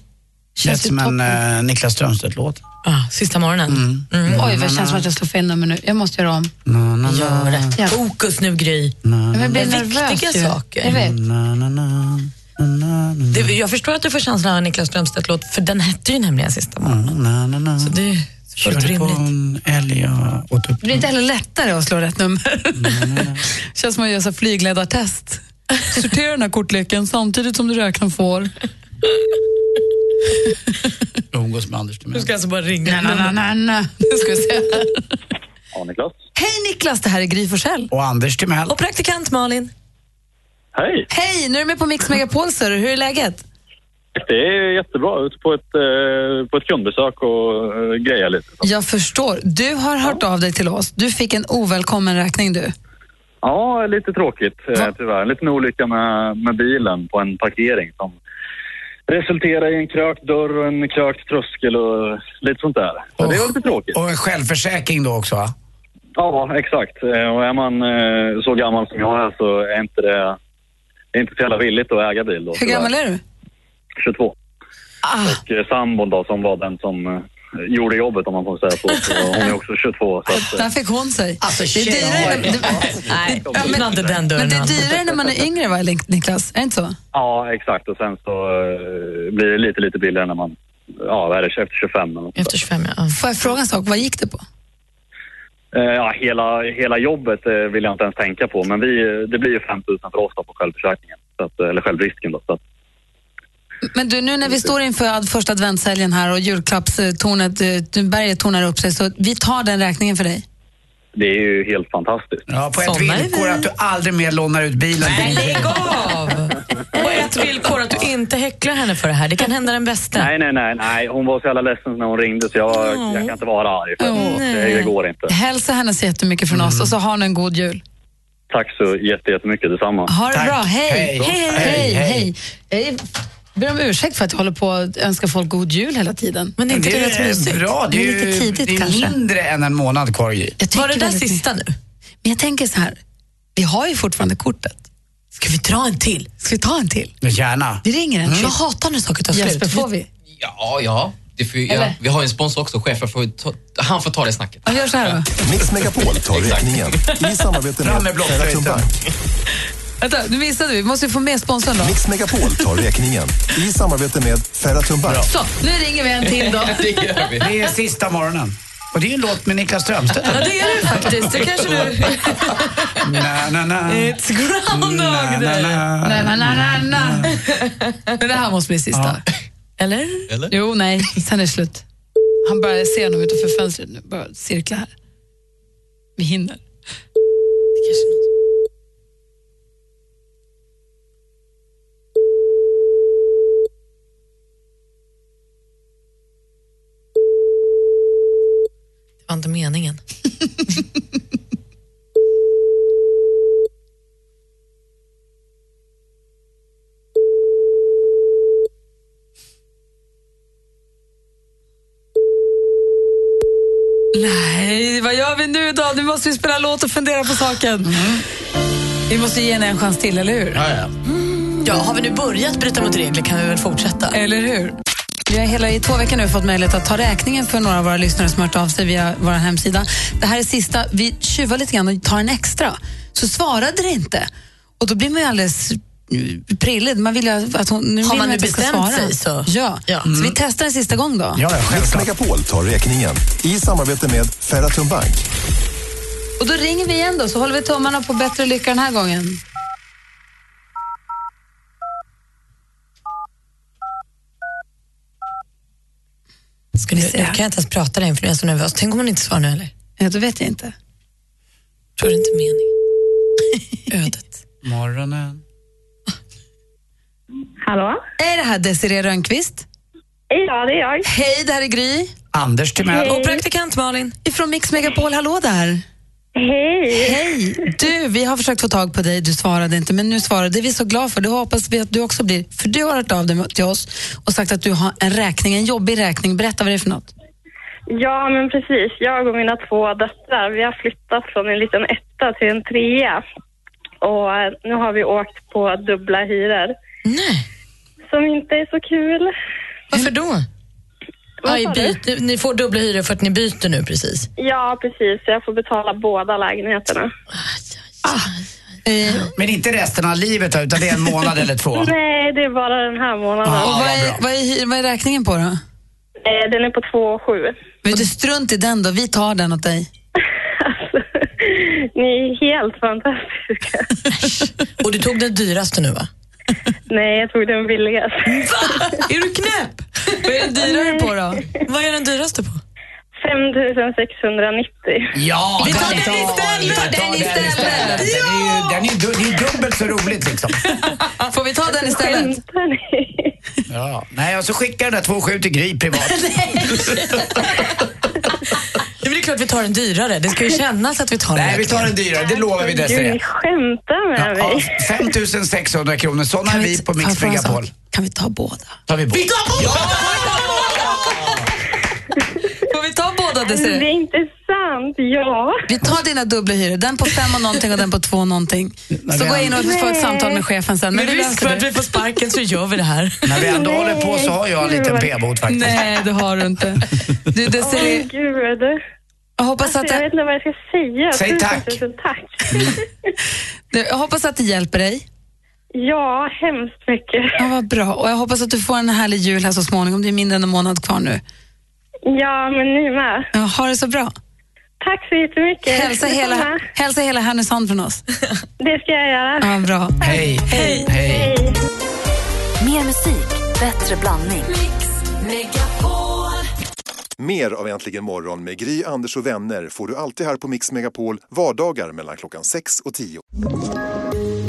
[SPEAKER 5] känns ju
[SPEAKER 3] som
[SPEAKER 5] toppen.
[SPEAKER 3] en eh, Niklas Strömstedt-låt.
[SPEAKER 4] Ah, sista morgonen. Mm.
[SPEAKER 5] Oj, vad det känns som att jag slår fel nummer nu. Jag måste göra om.
[SPEAKER 4] Gör det.
[SPEAKER 14] eh,
[SPEAKER 4] Fokus nu, Gry.
[SPEAKER 5] Men jag blir
[SPEAKER 4] Det är
[SPEAKER 5] nervös
[SPEAKER 4] viktiga
[SPEAKER 5] ju.
[SPEAKER 4] saker.
[SPEAKER 5] Jag vet.
[SPEAKER 4] Det, jag förstår att du får känslan av en Niklas Strömstedt-låt, för den hette ju nämligen sista morgonen. Så det är fullt
[SPEAKER 3] Körde på
[SPEAKER 4] rimligt.
[SPEAKER 3] en älg och åt upp
[SPEAKER 5] Det blir inte heller lättare att slå rätt nummer. känns som att göra så här flygledartest. Sortera den här kortleken samtidigt som du räknar får.
[SPEAKER 3] och umgås med Anders.
[SPEAKER 4] Du ska alltså bara ringa.
[SPEAKER 5] Nej, nej, nej, nej. Nu ska vi se här.
[SPEAKER 14] Ja, Niklas.
[SPEAKER 5] Hej Niklas, det här är Gry Forssell.
[SPEAKER 3] Och Anders Timell.
[SPEAKER 4] Och praktikant Malin.
[SPEAKER 14] Hej.
[SPEAKER 5] Hej, nu är du med på Mix Megapol, ser du. Hur är läget?
[SPEAKER 14] Det är jättebra. Ute på ett, eh, på ett kundbesök och eh, greja lite.
[SPEAKER 5] Jag förstår. Du har hört av dig till oss. Du fick en ovälkommen räkning du.
[SPEAKER 14] Ja, lite tråkigt eh, tyvärr. En liten olycka med, med bilen på en parkering som resulterade i en krökt dörr och en krökt tröskel och lite sånt där. Så det var lite tråkigt.
[SPEAKER 3] Och en självförsäkring då också va?
[SPEAKER 14] Ja, exakt. Eh, Och är man eh, så gammal som jag är så är inte det det är inte så jävla villigt att äga bil då.
[SPEAKER 5] Hur gammal är Ah. du?
[SPEAKER 14] 22. Och eh, sambon då som var den som eh, gjorde jobbet om man får säga så. så hon är också 22. Så att, eh,
[SPEAKER 5] Där fick hon sig.
[SPEAKER 3] Alltså,
[SPEAKER 5] det är dyrare, när-
[SPEAKER 4] Nej, öppna inte den
[SPEAKER 5] men
[SPEAKER 4] dörren.
[SPEAKER 5] det är dyrare när man är yngre, va, Link- Niklas? Är det inte så?
[SPEAKER 14] Ja, exakt. Och sen så eh, blir det lite, lite billigare när man... Ja, vad är det? Efter 25 eller något.
[SPEAKER 4] Efter 25, ja.
[SPEAKER 5] Får jag fråga en sak? Vad gick det på?
[SPEAKER 14] Eh, Ja, hela, hela jobbet eh, vill jag inte ens tänka på. Men vi, eh, det blir ju 5 000 för oss då på självförsäkringen. Så att, eh, eller självrisken då. Så att,
[SPEAKER 5] Men du, nu när vi står inför ad- första adventshelgen här och julklappstornet, eh, berget tornar upp sig, så vi tar den räkningen för dig.
[SPEAKER 14] det är ju helt fantastiskt.
[SPEAKER 3] Ja, på ett
[SPEAKER 4] Såna är
[SPEAKER 3] villkor att du aldrig mer lånar ut bilen.
[SPEAKER 4] Nej, lägg av! Och ett villkor, att du inte häcklar henne för det här. Det kan hända den bästa.
[SPEAKER 14] Nej, nej, nej, nej. Hon var så jävla ledsen när hon ringde så jag, jag kan inte vara arg. För
[SPEAKER 5] Åh,
[SPEAKER 14] det, det går inte.
[SPEAKER 5] Mm. Hälsa henne så jättemycket från oss och så har ni en god jul.
[SPEAKER 14] Tack så jätte, jättemycket. Detsamma.
[SPEAKER 5] Ha det
[SPEAKER 3] Tack.
[SPEAKER 5] bra, hej!
[SPEAKER 3] Hej.
[SPEAKER 5] Hej, hej, hej! hej. ber om ursäkt för att jag håller på att önska folk god jul hela tiden.
[SPEAKER 4] Men
[SPEAKER 3] Men det är bra. Det är, ju-
[SPEAKER 5] lite tidigt
[SPEAKER 3] det är
[SPEAKER 5] kanske.
[SPEAKER 3] mindre än en månad kvar i.
[SPEAKER 5] Var det där sista
[SPEAKER 4] nu?
[SPEAKER 5] Men jag tänker så här, vi har ju fortfarande kortet. Ska vi dra en till? Ska vi ta en till?
[SPEAKER 3] Men Gärna.
[SPEAKER 5] Vi ringer en
[SPEAKER 17] Mm.
[SPEAKER 5] till.
[SPEAKER 17] Jag
[SPEAKER 4] hatar när saker
[SPEAKER 17] tar slut.
[SPEAKER 5] Jesper, får vi?
[SPEAKER 17] Ja, ja. Det får, ju- ja
[SPEAKER 5] Eller?
[SPEAKER 17] vi har ju en sponsor också, chefen. Får, ju ta, han får ta det snacket.
[SPEAKER 5] Ja, gör så här då.
[SPEAKER 7] Mix Megapol tar räkningen i samarbete
[SPEAKER 17] Fram med
[SPEAKER 7] med
[SPEAKER 17] blockflöjten.
[SPEAKER 7] Ferrotum Bank.
[SPEAKER 5] Vänta, nu missade vi. Vi måste ju få med sponsorn då.
[SPEAKER 7] Mix Megapol tar räkningen i samarbete med Ferrotum Bank.
[SPEAKER 5] Så, nu ringer vi en till då.
[SPEAKER 3] Det är sista morgonen. Och det är ju en låt med Niklas Strömstedt.
[SPEAKER 5] Ja, det är det faktiskt. Det kanske du...
[SPEAKER 3] Na, na, na.
[SPEAKER 5] It's Groundhog
[SPEAKER 3] Na, na, na.
[SPEAKER 5] Na, na, na, na, na. Men det här måste bli sista. Eller?
[SPEAKER 17] Eller?
[SPEAKER 5] Jo, nej. Sen är det slut. Han bara ser honom utanför fönstret nu. Bara cirkla här. Vi hinner.
[SPEAKER 4] Det var inte meningen.
[SPEAKER 5] Nej, vad gör vi nu då? Nu måste vi spela låt och fundera på saken. Vi måste ge henne en chans till, eller hur?
[SPEAKER 3] Ja, ja.
[SPEAKER 4] Ja, har vi nu börjat
[SPEAKER 15] uh,
[SPEAKER 4] bryta mot regler kan vi väl fortsätta?
[SPEAKER 5] Eller hur? Vi har hela i två veckor nu fått möjlighet att ta räkningen för några av våra lyssnare som har hört av sig via vår hemsida. Det här är sista. Vi tjuvar lite grann och tar en extra. Så svarade det inte. Och då blir man ju alldeles eh, prillig. Man vill ju att hon, nu
[SPEAKER 4] Har
[SPEAKER 5] vill
[SPEAKER 4] man
[SPEAKER 5] att
[SPEAKER 4] nu
[SPEAKER 5] jag ska
[SPEAKER 4] bestämt
[SPEAKER 5] svara.
[SPEAKER 4] sig så-
[SPEAKER 5] Ja.
[SPEAKER 4] Ja.
[SPEAKER 5] Så vi
[SPEAKER 4] Mm.
[SPEAKER 5] testar en sista gång då.
[SPEAKER 7] Mix Megapol tar räkningen i samarbete med Ferrotum Bank.
[SPEAKER 5] Och då ringer vi igen då, så håller vi tummarna på bättre lycka den här gången.
[SPEAKER 4] Ska ni se, jag kan inte ens prata längre för nu är jag så nervös. Tänk om hon inte svarar nu eller?
[SPEAKER 5] Ja, då vet jag inte.
[SPEAKER 4] Tror det inte är meningen. Ödet.
[SPEAKER 3] Morgonen.
[SPEAKER 5] Hallå? Är det här Desiree Rönnqvist?
[SPEAKER 9] Ja, det är jag.
[SPEAKER 5] Hej, det här är Gry.
[SPEAKER 3] Anders Timell.
[SPEAKER 14] Mm.
[SPEAKER 5] Och praktikant Malin. Ifrån Mix Megapol, hallå där. Hej. Hej. Du, vi har försökt få tag på dig, du svarade inte, men nu svarade Det är vi så glada för. Det hoppas vi att du också blir. För du har hört av dig till oss och sagt att du har en räkning, en jobbig räkning. Berätta vad det är för något.
[SPEAKER 9] Ja, men precis. Jag och mina två döttrar, vi har flyttat från en liten etta till en trea. Och eh, nu har vi åkt på dubbla hyror.
[SPEAKER 4] Nej.
[SPEAKER 9] Som inte är så kul.
[SPEAKER 4] Varför då?
[SPEAKER 9] Vad
[SPEAKER 4] Aj,
[SPEAKER 9] sa du?
[SPEAKER 4] byt, ni får dubbla hyror för att ni byter nu precis.
[SPEAKER 9] Ja, precis. Jag får betala båda lägenheterna.
[SPEAKER 5] Eh,
[SPEAKER 3] Men inte resten av livet då, utan det är en månad eller två.
[SPEAKER 9] Nej, det är bara den här månaden.
[SPEAKER 3] Ja, Och vad vad är- bra.
[SPEAKER 5] Vad är, hy- vad är räkningen på då?
[SPEAKER 9] Eh, Den är på 2 7.
[SPEAKER 5] Vet du, strunt i den då, vi tar den åt dig.
[SPEAKER 9] Ni är helt fantastiska.
[SPEAKER 4] Och du tog den dyraste nu va?
[SPEAKER 9] Nej, jag tog den billigaste.
[SPEAKER 4] Mm. Va? Är du knäpp? Vad är den dyrare på då? Vad är den dyraste på?
[SPEAKER 9] 5690.
[SPEAKER 3] Ja,
[SPEAKER 9] Vi tar
[SPEAKER 3] den
[SPEAKER 9] den istället!
[SPEAKER 3] Vi tar den istället! Den är ju- Den är ju du- det är dubbelt så roligt liksom.
[SPEAKER 5] Får vi ta den istället?
[SPEAKER 9] Skämtar ni?
[SPEAKER 3] Ja. Nej, och så skickar jag den där 2,7 till Gry privat.
[SPEAKER 4] Det är väl klart vi tar den dyrare. Det ska ju kännas att vi tar den
[SPEAKER 3] Nej, vi
[SPEAKER 4] räkningen.
[SPEAKER 3] tar den dyrare, det lovar vi
[SPEAKER 9] Ni
[SPEAKER 3] Desirée.
[SPEAKER 9] skämtar med
[SPEAKER 3] Ja,
[SPEAKER 9] mig.
[SPEAKER 3] 5600 kronor, sådana är vi på Mix Megapol.
[SPEAKER 5] Kan vi ta båda?
[SPEAKER 3] Tar vi bort.
[SPEAKER 5] Vi tar båda! Får vi ta båda Desiree?
[SPEAKER 9] Det är inte sant, ja.
[SPEAKER 5] Vi tar dina dubbla hyror, den på fem och någonting och den på två och någonting. Så
[SPEAKER 3] vi
[SPEAKER 5] gå in och
[SPEAKER 3] ändå-
[SPEAKER 5] få ett samtal med chefen sen.
[SPEAKER 4] Men
[SPEAKER 5] vi
[SPEAKER 4] risk
[SPEAKER 5] löser
[SPEAKER 4] för
[SPEAKER 5] det.
[SPEAKER 4] att vi får sparken så gör vi det här.
[SPEAKER 3] När vi ändå håller på så har jag en liten p-bot faktiskt.
[SPEAKER 5] Nej, det har du inte. Du
[SPEAKER 9] Åh,
[SPEAKER 5] Desiree,
[SPEAKER 9] gud.
[SPEAKER 5] jag hoppas,
[SPEAKER 9] Alltså,
[SPEAKER 5] att
[SPEAKER 9] jag vet
[SPEAKER 5] det,
[SPEAKER 9] inte vad jag ska säga.
[SPEAKER 5] Säg
[SPEAKER 9] Tusen,
[SPEAKER 5] tack.
[SPEAKER 9] Tusen tack.
[SPEAKER 5] jag hoppas att det hjälper dig.
[SPEAKER 9] Ja, hemskt mycket.
[SPEAKER 5] Ja, vad bra. Och jag hoppas att du får en härlig jul här så småningom. Det är mindre än en månad kvar nu.
[SPEAKER 9] Ja, men ni med.
[SPEAKER 5] Ja, ha det så bra.
[SPEAKER 9] Tack så jättemycket.
[SPEAKER 5] Hälsa hela,
[SPEAKER 9] Detsamma.
[SPEAKER 5] hälsa hela Härnösand från oss.
[SPEAKER 9] Det ska jag göra.
[SPEAKER 5] Ja, bra.
[SPEAKER 3] Hej.
[SPEAKER 5] Hej.
[SPEAKER 1] Hej. Mer musik, bättre blandning.
[SPEAKER 7] Mer av Äntligen morgon med Gry, Anders och vänner får du alltid här på Mix Megapol vardagar mellan klockan 6 och 10.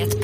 [SPEAKER 18] Ett